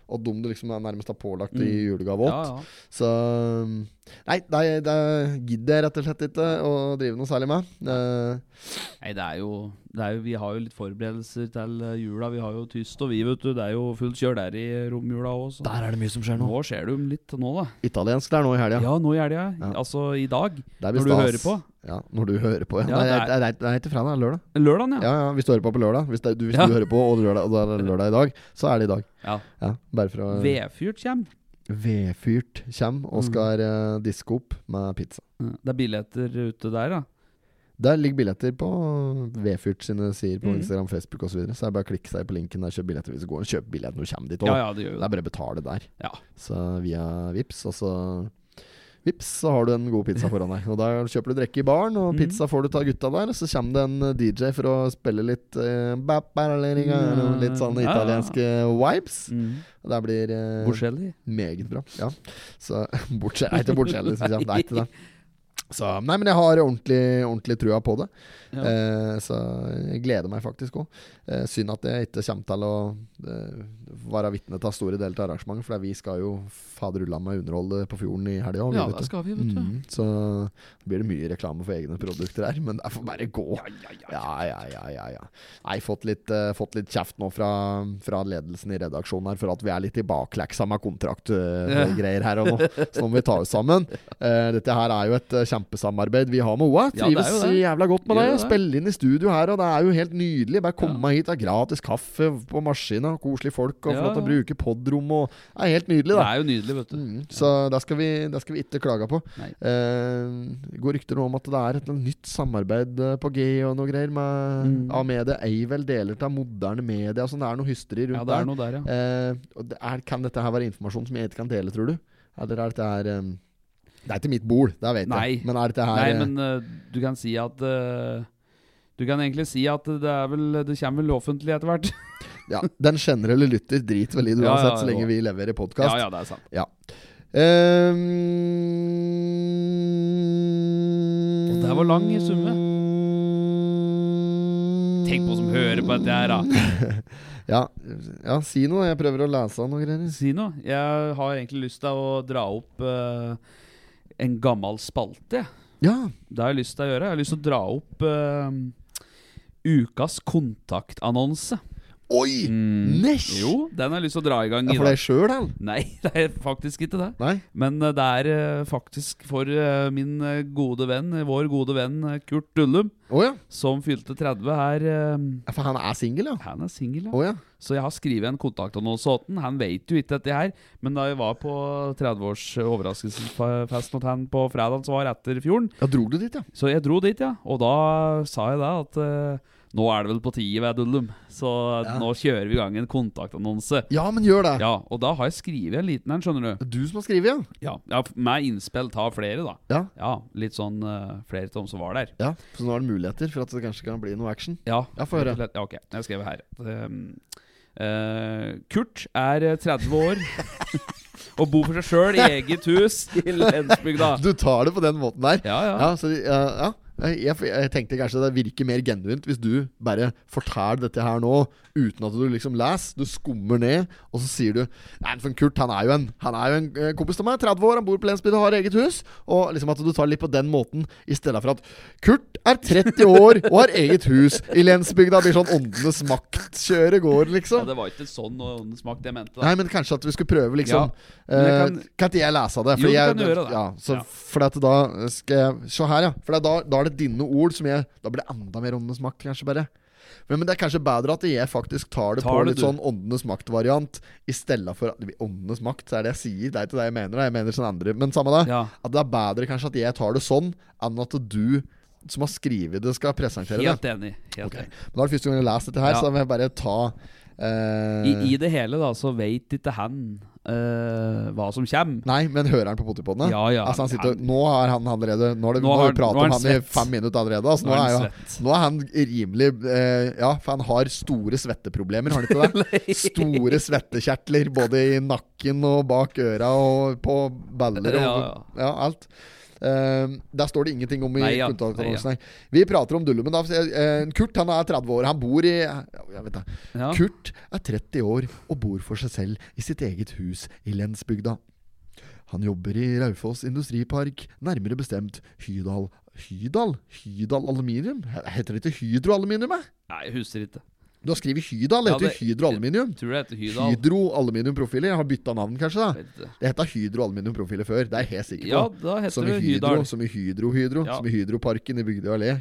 S1: Åt dem du liksom er nærmest har pålagt å gi julegave
S2: Ja,
S1: åt.
S2: ja.
S1: Så um, Nei, det, det gidder jeg rett og slett ikke å drive noe særlig med. Eh,
S2: Nei, det er jo, det er jo Vi har jo litt forberedelser til eh, jula. Vi har jo tyst og vi, vet du. Det er jo fullt kjør der i romjula òg.
S1: der er det mye som skjer nå.
S2: Nå skjer det jo litt nå, da.
S1: Italiensk der nå i helga.
S2: Ja, nå i helga.
S1: Ja.
S2: Altså i dag.
S1: Det blir
S2: Når du
S1: stas.
S2: hører på.
S1: Ja, når du hører på. Ja.
S2: Ja,
S1: Nei, det, er,
S2: det
S1: det, er, det er ikke fredag, det er lørdag. Ja,
S2: Lørdagen, ja.
S1: ja, Hvis du hører på på lørdag, hvis, det, er- du, hvis
S2: Ja.
S1: du hører på og lørdag, og det er lørdag i dag, så er det i dag.
S2: ja.
S1: Ja, bare for å
S2: Vedfyrt kommer.
S1: Vedfyrt kommer
S2: Mm.
S1: og skal eh, diske opp med pizza.
S2: Det er billetter ute der, ja.
S1: Der ligger billetter på Vedfyrt sine sider på
S2: Mhm.
S1: Instagram, Facebook osv. Så, videre. så er det bare å klikke seg på linken der, kjøp billetter hvis du går og kjøp billett når du kommer dit. også.
S2: Ja, ja, det gjør jo
S1: Det
S2: det.
S1: er bare å betale der.
S2: Ja.
S1: Så via Vips og så Vips, så har du en god pizza foran deg. Og Da kjøper du drikke i baren, og
S2: Mhm.
S1: pizza får du av gutta der. Og så kommer det en eh, DJ for å spille litt eh, ba- ba- la- la- la- la- Litt sånne
S2: Mm. Ja, ja, ja.
S1: italienske vibes.
S2: Mm.
S1: Og det blir eh,
S2: Borselli.
S1: meget bra. Ja. Så bortsett Nei, til bortsett, liksom. Det er ikke det. Så, nei, men jeg har ordentlig, ordentlig trua på det.
S2: Ja.
S1: Eh, så jeg gleder meg faktisk òg. Eh, synd at jeg ikke kommer til å eh, være vitne til store deler av arrangementet, for vi skal jo faderulla meg underholde på fjorden i helga.
S2: Ja, det skal vi, vet du.
S1: Mm, så blir det mye reklame for egne produkter her, men det får bare gå. Ja, ja, ja. ja, ja. Nei, fått litt, eh, fått litt kjeft nå fra, fra ledelsen i redaksjonen her for at vi er litt i bakleksa med kontraktgreier greier her og nå, så nå må vi ta oss sammen. Eh, dette her er jo et eh, kjempesamarbeid vi har med OA.
S2: Ja, det er
S1: Trives
S2: jo det.
S1: jævla godt med
S2: Gjør
S1: det.
S2: det.
S1: Spille inn i studio her, og det er jo helt nydelig. Bare komme
S2: Ja.
S1: meg hit, det er gratis kaffe på maskina, koselige folk, og
S2: Ja,
S1: få lov til å
S2: ja.
S1: bruke podrom, og det er helt nydelig,
S2: Det
S1: da.
S2: er jo nydelig, vet du.
S1: Mm, så det skal, vi, det skal vi ikke klage på.
S2: Nei.
S1: Eh, det går rykter nå om at det er et nytt samarbeid eh, på G og noe greier med
S2: Mm.
S1: Amedia. Eivel deler til moderne media. Sånn, det er noe hysteri rundt
S2: Ja, det
S1: der.
S2: er noe der, ja.
S1: Eh, og det er, kan dette her være informasjon som jeg ikke kan dele, tror du? Eller er dette her eh, Det er ikke mitt bol, det vet
S2: Nei.
S1: jeg. Men er dette her
S2: Nei,
S1: eh,
S2: men eh, du kan si at eh, Du kan egentlig si at det er vel Det kommer vel offentlig etter hvert.
S1: ja, Den generelle lytter driter vel i det
S2: Ja,
S1: uansett,
S2: ja,
S1: så
S2: ja.
S1: lenge vi leverer podkast.
S2: ja, ja, det er sant.
S1: Ehm, Og
S2: Og der var lang i summe. Tenk på som hører på dette her, da.
S1: Ja, ja, si noe. Jeg prøver å lese av noe greier.
S2: Si noe. Jeg har egentlig lyst til å dra opp eh, en gammel spalte. jeg.
S1: Ja,
S2: Det har jeg lyst til å gjøre. Jeg har lyst til å dra opp eh, ukas kontaktannonse.
S1: Oi! Nesh!
S2: Jo, den har jeg lyst til å dra i gang.
S1: Det er for
S2: Ida.
S1: deg sjøl, han.
S2: Nei, det er faktisk ikke det.
S1: Nei.
S2: Men eh, det er eh, faktisk for eh, min eh, gode venn, vår gode venn eh, Kurt Dullum,
S1: Å ja.
S2: som fylte 30 her. eh,
S1: Ja, For han er singel, ja.
S2: Han er singel, ja.
S1: Å ja.
S2: Så jeg har skrevet en kontaktannonse til han. Han vet jo ikke dette her, men da jeg var på 30-års overraskelsesfest hos han på fredag, som var etter fjorden,
S1: Ja, drog du dit, ja?
S2: så jeg dro dit, ja. Og da sa jeg da at eh, nå er det vel på tide, ved Dullum, så nå kjører vi i gang en kontaktannonse.
S1: Ja, men gjør det.
S2: Ja, og da har jeg skrevet en liten en, skjønner du.
S1: Det er Du som har skrevet, ja?
S2: Ja, ja f- Med innspill ta flere, da.
S1: Ja.
S2: litt sånn eh, flere av dem som var der.
S1: Ja, Så nå er det muligheter for at det kanskje kan bli noe action?
S2: Ja,
S1: Ja, få høre.
S2: rett og slett. Ja, ok, jeg skrev her. Um, eh, Kurt er eh, 30 år og bor for seg sjøl i eget hus i Lensbygda.
S1: Du tar det på den måten der?
S2: Ja, ja.
S1: Ja, så, de- ja, ja. Jeg, jeg, jeg tenkte kanskje det virker mer genuint hvis du bare forteller dette her nå uten at du liksom leser. Du skummer ned, og så sier du Nei, men for en Kurt han er jo en Han er jo en eh, kompis av meg. 30 år, han bor på Lensbygda, har eget hus. Og liksom at du tar litt på den måten i stedet for at Kurt er 30 år og har eget hus i Lensbygda. Blir sånn åndenes makt-kjøret går,
S2: Ja,
S1: liksom.
S2: det var ikke sånn og åndens makt jeg mente. da
S1: Nei, men kanskje at vi skulle prøve, liksom.
S2: Ja, men jeg
S1: eh,
S2: kan-
S1: kan ikke jeg lese det?
S2: Jo, du
S1: jeg,
S2: kan gjøre det.
S1: Ja, så
S2: Ja.
S1: For at da skal jeg Se her, ja. For da, da er det dine ord som jeg Da blir det enda mer åndenes makt, kanskje, bare. Men, men det er kanskje bedre at jeg faktisk tar det
S2: Tar
S1: på
S2: det,
S1: litt
S2: du.
S1: sånn åndenes makt-variant, i stedet for at- Åndenes makt, så er det jeg sier. Det er ikke det jeg mener. da. Jeg mener sånn andre Men samme det.
S2: Ja.
S1: At det er bedre kanskje at jeg tar det sånn, enn at du som har skrevet det, skal presentere det.
S2: Helt enig. Helt
S1: Ok.
S2: enig.
S1: Men da er det første gang jeg leser dette her,
S2: Ja.
S1: så da må jeg bare ta eh,
S2: I, I det hele da så veit ikke han eh, hva som kommer.
S1: Nei, men hører han på potipodene?
S2: Ja, ja,
S1: altså, han sitter,
S2: han-
S1: nå har han allerede Nå har det-
S2: Nå
S1: nå har
S2: har-
S1: vi pratet
S2: nå er
S1: om
S2: han
S1: han i
S2: svett.
S1: fem minutter allerede. Altså,
S2: Nå
S1: nå,
S2: er
S1: er
S2: han
S1: jo, nå er han rimelig eh, Ja, for han har store svetteproblemer, har han ikke det? store svettekjertler både i nakken og bak øra og på baller og ja,
S2: Ja,
S1: alt. Eh, der står det ingenting om i
S2: Nei, ja.
S1: kontaktannonsen.
S2: Nei,
S1: her. Vi prater om Dullumen. da. Eh, Kurt han er 30 år. Han bor i jeg vet det.
S2: Ja.
S1: Kurt er 30 år og bor for seg selv i sitt eget hus i Lensbygda. Han jobber i Raufoss industripark, nærmere bestemt Hydal Hydal? Hydal Aluminium? Heter det ikke Hydroaluminium? eh?
S2: Nei, jeg husker ikke.
S1: Du har skrevet Hydal, det
S2: Ja,
S1: heter
S2: det-
S1: jo Hydroaluminium.
S2: Tror det heter Hydal.
S1: Hydroaluminiumprofiler. Jeg har bytta navn, kanskje. da
S2: Vet ikke.
S1: Det heta Hydroaluminiumprofiler før, det er jeg helt sikker på.
S2: Ja, da heter
S1: som i
S2: det
S1: Hydro,
S2: Hydal.
S1: som i Hydro-Hydro,
S2: Ja.
S1: som i Hydroparken i Bygdøy allé.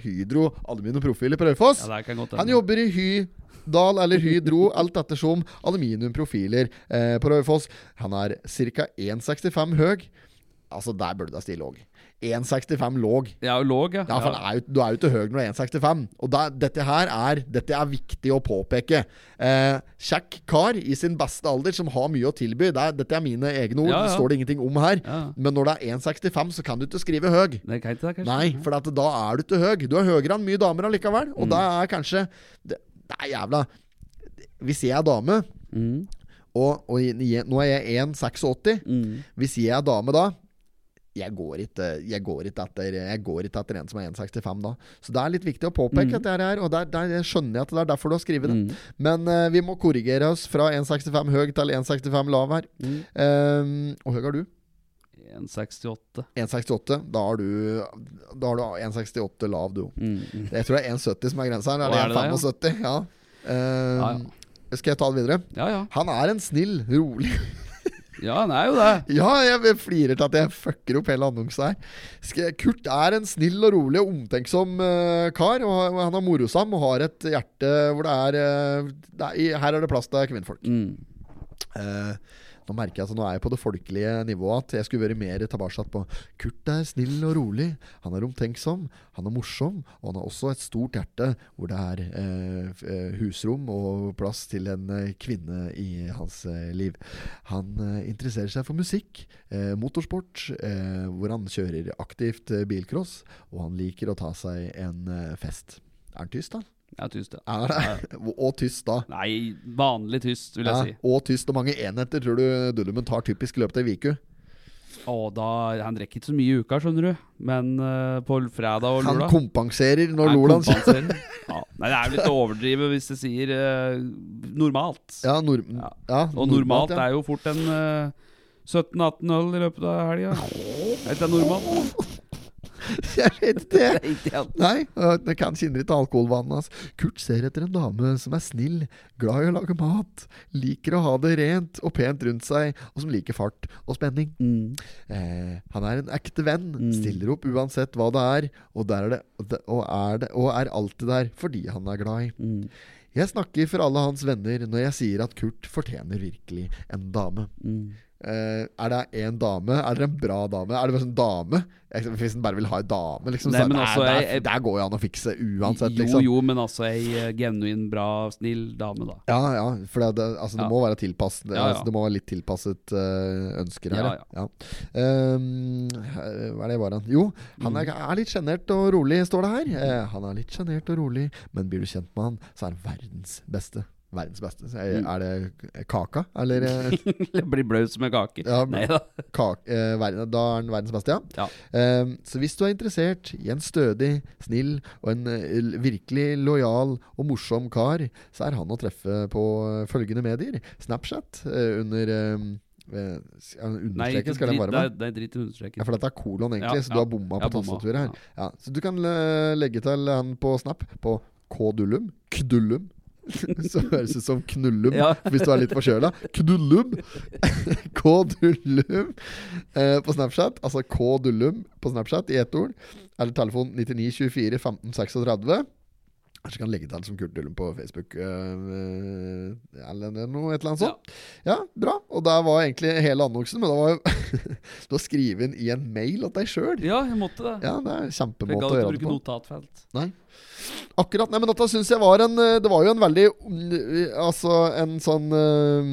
S1: Hydroaluminiumprofiler på Raufoss.
S2: Ja, det kan godt
S1: Han
S2: hende.
S1: jobber i Hydal eller Hydro, alt ettersom aluminiumprofiler eh, på Raufoss. Han er ca. 1,65 høy. Altså, der burde du deg stille òg. 1,65 låg.
S2: Jeg er jo låg, ja.
S1: Ja, for han er jo, Du er jo ikke høy når du er 1,65. Og da, dette her er Dette er viktig å påpeke. Eh, kjekk kar i sin beste alder som har mye å tilby. Det er, dette er mine egne ord,
S2: Ja, ja.
S1: det står det ingenting om her.
S2: Ja.
S1: Men når det er 1,65, så kan du ikke skrive høy.
S2: Nei, kan ikke det, kanskje?
S1: Nei, for at da er du ikke høy. Du er høyere enn mye damer allikevel. Og da er kanskje det, det er jævla Hvis jeg er dame,
S2: Mm,
S1: og, og jeg, nå er jeg 1,86
S2: mm.
S1: Hvis jeg er dame da jeg går, ikke, jeg, går ikke etter, jeg går ikke etter en som er 1,65 da. Så det er litt viktig å påpeke dette her, og der, der skjønner jeg at det er derfor du har skrevet
S2: Mm.
S1: det. Men eh, vi må korrigere oss fra 1,65 høy til 1,65 lav her.
S2: Mm.
S1: Eh, og høy er du?
S2: 1,68.
S1: 1,68. Da har du Da har du 1,68 lav, du.
S2: Mm.
S1: Jeg tror det er 1,70 som er grensa her.
S2: Å,
S1: Er
S2: er
S1: det
S2: det det, ja?
S1: 1,75? Ja. Eh,
S2: Ja,
S1: Skal jeg ta det videre?
S2: Ja, ja.
S1: Han er en snill, rolig
S2: Ja, han er jo det.
S1: Ja, jeg flirer til at jeg fucker opp hele annonsen her. Skal jeg- Kurt er en snill og rolig og omtenksom eh, kar. Og han- han er morosam og har et hjerte hvor det er, eh, det er i- Her er det plass til kvinnfolk.
S2: Mm.
S1: Eh, nå merker jeg at nå er jeg på det folkelige nivået at jeg skulle vært mer tilbake på Kurt er snill og rolig, han er omtenksom, han er morsom, og han har også et stort hjerte hvor det er eh, f- eh, husrom og plass til en eh, kvinne i hans eh, liv. Han eh, interesserer seg for musikk, eh, motorsport, eh, hvor han kjører aktivt eh, bilcross, og han liker å ta seg en eh, fest. Er han tyst, da?
S2: Ja, tyst, ja.
S1: Er det? Og tyst, da.
S2: Nei, vanlig tyst, vil jeg
S1: Ja,
S2: si.
S1: og tyst og mange enheter tror du Dullumen tar typisk i løpet av ei uke.
S2: Å, da, Han drikker ikke så mye i uka, skjønner du. Men eh, på fredag og
S1: Han
S2: lørdag
S1: kompenserer når Lolan sier
S2: ja. Nei, det er jo litt å overdrive hvis det sier eh, normalt.
S1: ja, nor ja.
S2: Og normalt er jo fort en eh, 17-18 øl i løpet av helga. Er ikke det normalt?
S1: jeg vet ikke det.
S2: Ikke igjen.
S1: Nei, øh, det kan kjenner ikke alkoholvanene hans. Kurt ser etter en dame som er snill, glad i å lage mat, liker å ha det rent og pent rundt seg, og som liker fart og spenning.
S2: Mm.
S1: Eh, han er en ekte venn,
S2: Mm.
S1: stiller opp uansett hva det er, og, der er det, og det- og, er det, og er alltid der fordi han er glad i.
S2: Mm.
S1: Jeg snakker for alle hans venner når jeg sier at Kurt fortjener virkelig en dame.
S2: Mm.
S1: Eh, er det en dame? Er det en bra dame? Er det bare sånn dame? Jeg- Hvis en bare vil ha en dame, liksom.
S2: Nei,
S1: så
S2: men
S1: der,
S2: altså,
S1: der,
S2: jeg-
S1: der går jo an å fikse uansett,
S2: Jo,
S1: liksom.
S2: jo, men altså ei eh, genuin, bra, snill dame, da.
S1: Ja, ja. For det, det, altså, det
S2: Ja.
S1: må være tilpasset
S2: Ja, ja.
S1: Altså, Det må være litt tilpasset eh, ønsker her.
S2: Ja,
S1: Ja, ja. Ehm, eh, hva er det var han? Jo, han er, er litt sjenert og rolig, står det
S2: Mm.
S1: her. Eh, han er litt sjenert og rolig, men blir du kjent med han, så er han verdens beste. Verdens beste. Så
S2: Mm.
S1: Er, er det kaka, eller? eh,
S2: Eller blir blaut som en kake.
S1: Ja, men-
S2: Nei da.
S1: kake, eh, verden, da er den verdens beste, ja.
S2: Ja.
S1: Ehm, så hvis du er interessert i en stødig, snill og en eh, l- virkelig lojal og morsom kar, så er han å treffe på eh, følgende medier. Snapchat eh, under ehm, eh, s- ja,
S2: Nei,
S1: Understreken
S2: ikke
S1: skal den
S2: drit,
S1: være
S2: nei,
S1: med.
S2: nei, drit i
S1: Ja,
S2: understreken.
S1: for dette er kolon, egentlig,
S2: Ja,
S1: så
S2: ja.
S1: du har bomma på
S2: Jeg har bomma,
S1: tastaturet her.
S2: ja.
S1: Ja. Så du kan eh, legge til han på Snap på kdullum. Kdullum. Som høres ut som knullum,
S2: Ja.
S1: hvis du er litt forkjøla. Kdullum. Kdullum eh, på Snapchat. Altså kdullum på Snapchat i ett ord. Eller telefon 9924 1536. Kanskje kan legge til som Kurt Dullum på Facebook eh, eh, eller noe, et eller annet sånt. Ja, bra. Og der var egentlig hele annonsen, men det var jo Du har skrevet inn i en mail at deg sjøl.
S2: Ja, jeg måtte det.
S1: Ja, det er en
S2: For jeg
S1: kjempemåte å
S2: gadd ikke
S1: gjøre det
S2: bruke
S1: på.
S2: notatfelt.
S1: Akkurat. Nei, men dette syns jeg var en eh, Det var jo en veldig mm, Altså en sånn eh,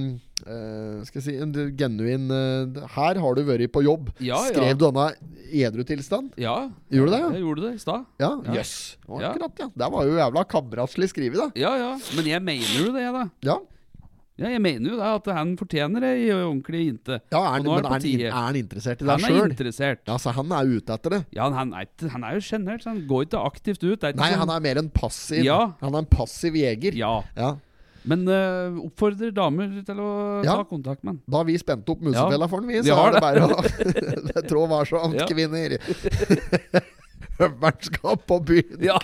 S1: eh, skal jeg si En genuin eh, Her har du vært på jobb.
S2: Ja, ja.
S1: Skrev du denne i edru tilstand?
S2: Ja,
S1: Gjorde du det? ja?
S2: jeg gjorde det i stad.
S1: Ja,
S2: Ja.
S1: jøss. Yes.
S2: Ja.
S1: Akkurat, ja. Det var jo jævla kameratslig skrevet, da.
S2: Ja, ja. Men jeg mener jo det, jeg, da.
S1: Ja,
S2: Ja, jeg mener jo da at han fortjener ei ordentlig jente.
S1: ja er, han-
S2: Og nå
S1: men
S2: er
S1: er
S2: det på
S1: han, in-
S2: tide.
S1: er han interessert i deg
S2: Han er
S1: sjøl?
S2: interessert.
S1: Ja, så han er ute etter det?
S2: Ja, han er, ikke- han er jo sjenert, så han går ikke aktivt ut. Det er ikke
S1: Nei,
S2: sånn-
S1: han er mer en passiv
S2: Ja.
S1: Han er en passiv jeger.
S2: Ja,
S1: Ja.
S2: men eh, oppfordrer damer til å
S1: Ja.
S2: ta kontakt med han.
S1: Da har vi spent opp musefella for den, vi.
S2: Vi
S1: Så
S2: har
S1: er det bare å trå varsomt,
S2: Ja.
S1: kvinner. Høveren skal på byen.
S2: Ja.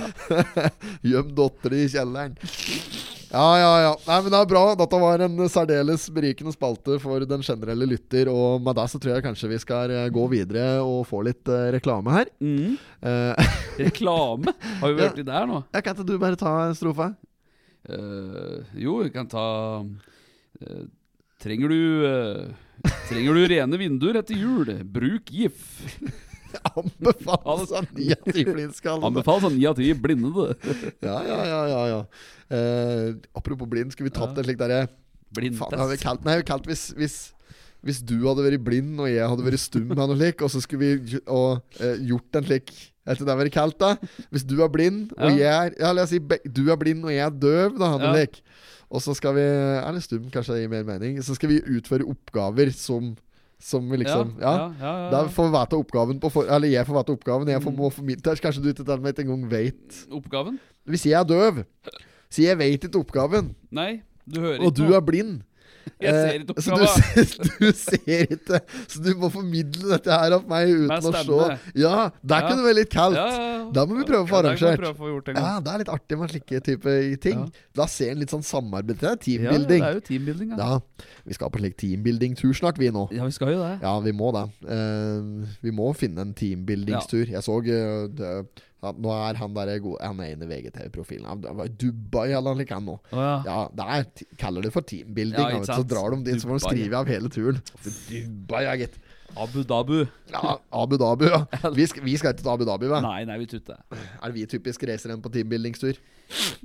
S1: Gjem dattera i kjelleren. Ja, ja, ja. Nei, men det er bra. Dette var en særdeles berikende spalte for den generelle lytter. Og med det så tror jeg kanskje vi skal eh, gå videre og få litt eh, reklame her.
S2: Mm.
S1: Eh,
S2: Reklame? Har vi
S1: Ja.
S2: vært i der nå?
S1: ja, kan ikke du bare ta strofa?
S2: Eh, jo, vi kan ta eh, Trenger du eh, Trenger du rene vinduer etter jul? Bruk GIF.
S1: Anbefales av ni av ti flinskaller.
S2: Anbefales av ni av ti blindede.
S1: Ja, ja, ja. ja, ja. Eh, apropos blind, skulle vi tatt
S2: Ja.
S1: en slik derre Faen, det hadde vi
S2: Blindtest.
S1: kalt, nei, vi kalt hvis, hvis, hvis du hadde vært blind og jeg hadde vært stum, eller noe slik, og så skulle vi gj- og, eh, gjort en slik Vet du hva det hadde vært kalt, da? Hvis du er blind, og jeg er Ja, la oss si be- du er blind og jeg er døv, da,
S2: Ja.
S1: noe slik. Og så skal vi Eller stum, kanskje det gir mer mening. Så skal vi utføre oppgaver som, som vi liksom ja.
S2: ja, ja, ja.
S1: Da får vi vite oppgaven på for, Eller jeg får vite oppgaven. Jeg får, må for min test. Kanskje du ikke til og med ikke engang vet
S2: Oppgaven?
S1: Hvis jeg er døv, så jeg vet ikke oppgaven,
S2: Nei, du hører
S1: og
S2: ikke
S1: du
S2: noe.
S1: er blind
S2: Jeg ser ikke
S1: Eh, Så
S2: oppgaven.
S1: du, ser- du ser ikke Så du må formidle dette her av meg uten
S2: Med
S1: å se.
S2: stemme.
S1: Ja, der
S2: Ja.
S1: kunne det vært litt kaldt.
S2: Ja, ja, ja.
S1: Da må vi prøve å få
S2: Ja, det kan vi
S1: arrangert.
S2: prøve å få gjort en gang.
S1: Ja, det er litt artig med slike type ting.
S2: Ja.
S1: Da ser en litt sånn samarbeid. Det er
S2: Ja,
S1: teambuilding.
S2: Ja,
S1: Ja,
S2: det er jo teambuilding, ja.
S1: Vi skal på en slik teambuilding-tur snart, vi nå.
S2: Ja, vi skal jo det.
S1: Ja, vi må det. Eh, vi må finne en teambuildingstur. Jeg så eh, det, at Nå er han der god Han er inne i VGTV-profilen. Han var i Dubai eller noe han nå.
S2: Å, ja.
S1: Ja, det er, t- kaller det for teambuilding.
S2: Ja,
S1: da,
S2: ikke
S1: vet du. så
S2: sant.
S1: drar de det inn, så må de
S2: Dubai.
S1: skrive av hele turen. Dubai, ja, gitt.
S2: Abu Dabu.
S1: Ja, Abu Dhabi, ja. Vi skal, vi skal ikke til Abu Dhabi, hva?
S2: Nei, nei, vi tror ikke det.
S1: Er vi typisk reiser igjen på teambuildingstur?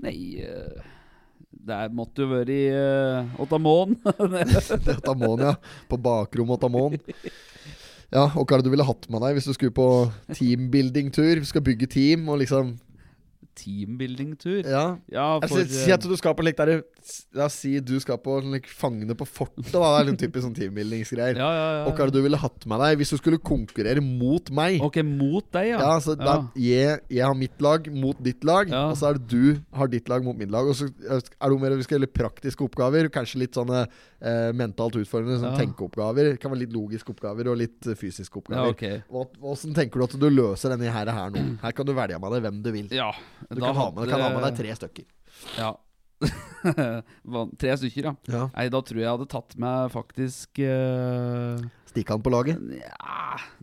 S2: Nei eh, Det er- måtte jo vært i uh, Ottamån.
S1: Otamon, ja. På bakrommet Otamon. Ja, og hva er det du ville hatt med deg hvis du skulle på teambuildingtur? Vi skal bygge team og liksom
S2: Teambuilding-tur.
S1: Ja.
S2: Ja,
S1: Altså,
S2: for
S1: si at
S2: eh,
S1: du skal på like, der, La oss si du skal på like, Fangene på fortet. Da. Det er litt typisk sånn teambuildingsgreier.
S2: ja, ja, ja.
S1: Og hva er det du ville hatt med deg hvis du skulle konkurrere mot meg?
S2: Ok, mot deg, ja.
S1: Ja, altså da, jeg, jeg har mitt lag mot ditt lag,
S2: Ja.
S1: og så er det du har ditt lag mot mitt lag. Og så er det jo mer vi skal gjøre litt praktiske oppgaver. Kanskje litt sånne eh, mentalt utfordrende. Sånn
S2: Ja.
S1: tenkeoppgaver. Det kan være litt logiske oppgaver og litt eh, fysiske
S2: Ja,
S1: oppgaver.
S2: ok.
S1: Åssen tenker du at du løser denne her, her nå? Her kan du velge med deg hvem du vil.
S2: Ja.
S1: Du kan ha, med, du kan ha med deg tre stykker.
S2: Ja. Van- tre stykker, ja.
S1: Ja.
S2: Nei, da tror jeg jeg hadde tatt meg faktisk eh,
S1: Stikk han på laget.
S2: Nja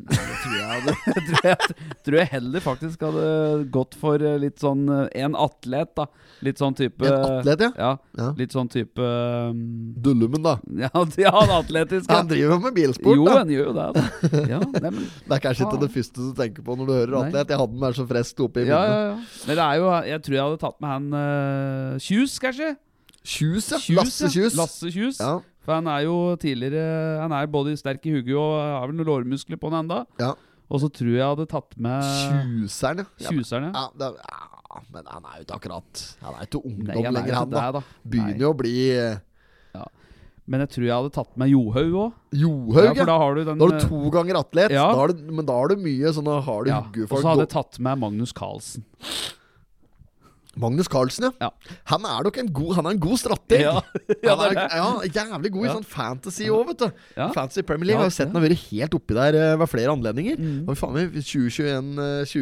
S2: Nei, det tror jeg hadde jeg tror, jeg, tror jeg heller faktisk hadde gått for eh, litt sånn eh, En atlet, da. Litt sånn type
S1: En atlet, ja.
S2: Ja,
S1: ja.
S2: litt sånn type um,
S1: Dullumen, da.
S2: ja, ja, en atletisk. Ja.
S1: Han driver med bilsport,
S2: Jo,
S1: da.
S2: en gjør jo det. Da. Ja, nei, men,
S1: Det er kanskje ikke det første du tenker på når du hører
S2: Nei.
S1: atlet. Jeg hadde den der så freskt oppe i
S2: ja, ja,
S1: minnet.
S2: ja. Men det er jo Jeg tror jeg hadde tatt med han eh, Kjus, kanskje?
S1: Kjus, ja.
S2: Kjus,
S1: Lasse
S2: ja.
S1: Kjus.
S2: Lasse Kjus.
S1: Ja.
S2: For han er jo tidligere Han er både sterk i hugget og har vel noen lårmuskler på han enda.
S1: Ja.
S2: Og så tror jeg jeg hadde tatt med
S1: Kjuseren, ja. ja.
S2: Kjuserne.
S1: Ja, det, er- ja, men han er jo ikke akkurat Han er jo ikke ungdom
S2: Nei, han er jo
S1: lenger,
S2: ikke
S1: han da.
S2: der, da.
S1: Begynner
S2: Nei.
S1: jo å bli eh,
S2: Men jeg tror jeg hadde tatt med Johaug òg. Ja,
S1: Johaug, ja.
S2: for da har du den
S1: Da har
S2: eh,
S1: du to ganger atlet,
S2: Ja.
S1: da har du, men da har du mye sånn da har du
S2: eh, ja. Og så
S1: huggefolk.
S2: hadde jeg tatt med Magnus Carlsen.
S1: Magnus Carlsen, ja.
S2: Ja.
S1: Han er nok en god, han er en god strateg.
S2: Ja. Ja,
S1: han er,
S2: det er det.
S1: ja, jævlig god i
S2: Ja.
S1: sånn fantasy òg, vet du.
S2: Ja.
S1: Fantasy Premier League.
S2: Ja,
S1: har jo sett
S2: ja.
S1: han har vært helt oppi der eh, ved flere anledninger. Og faen meg,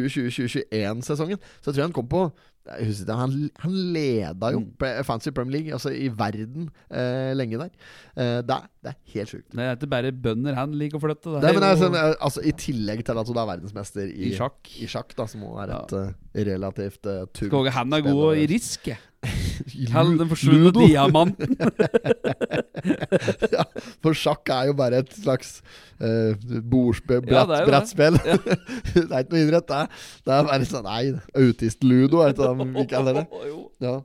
S1: 2021-2021-sesongen, så tror jeg han kom på jeg husker ikke, han, han leda jo Pre- Fantasy Premier League, altså i verden, eh, lenge der. Eh, det, er, det er helt sjukt.
S2: Det er ikke bare bønder han liker å flytte. Det
S1: Det,
S2: er
S1: men
S2: jo-
S1: altså, altså, I tillegg til at du er verdensmester i,
S2: I sjakk.
S1: i sjakk, da, som også er
S2: Ja.
S1: et eh, relativt uh, tungt
S2: Skal ikke han er god i
S1: spennende- altså.
S2: risk, jeg.
S1: Lu-
S2: Han den forsvunne
S1: Ludo.
S2: diamanten.
S1: ja, for sjakk er jo bare et slags uh, bordsspill,
S2: Ja,
S1: brett,
S2: det er jo
S1: brettspill. det er ikke noe idrett, det. Det er bare sånn Nei, autist-ludo, er det ikke det vi kaller det?
S2: Jo.
S1: Ja.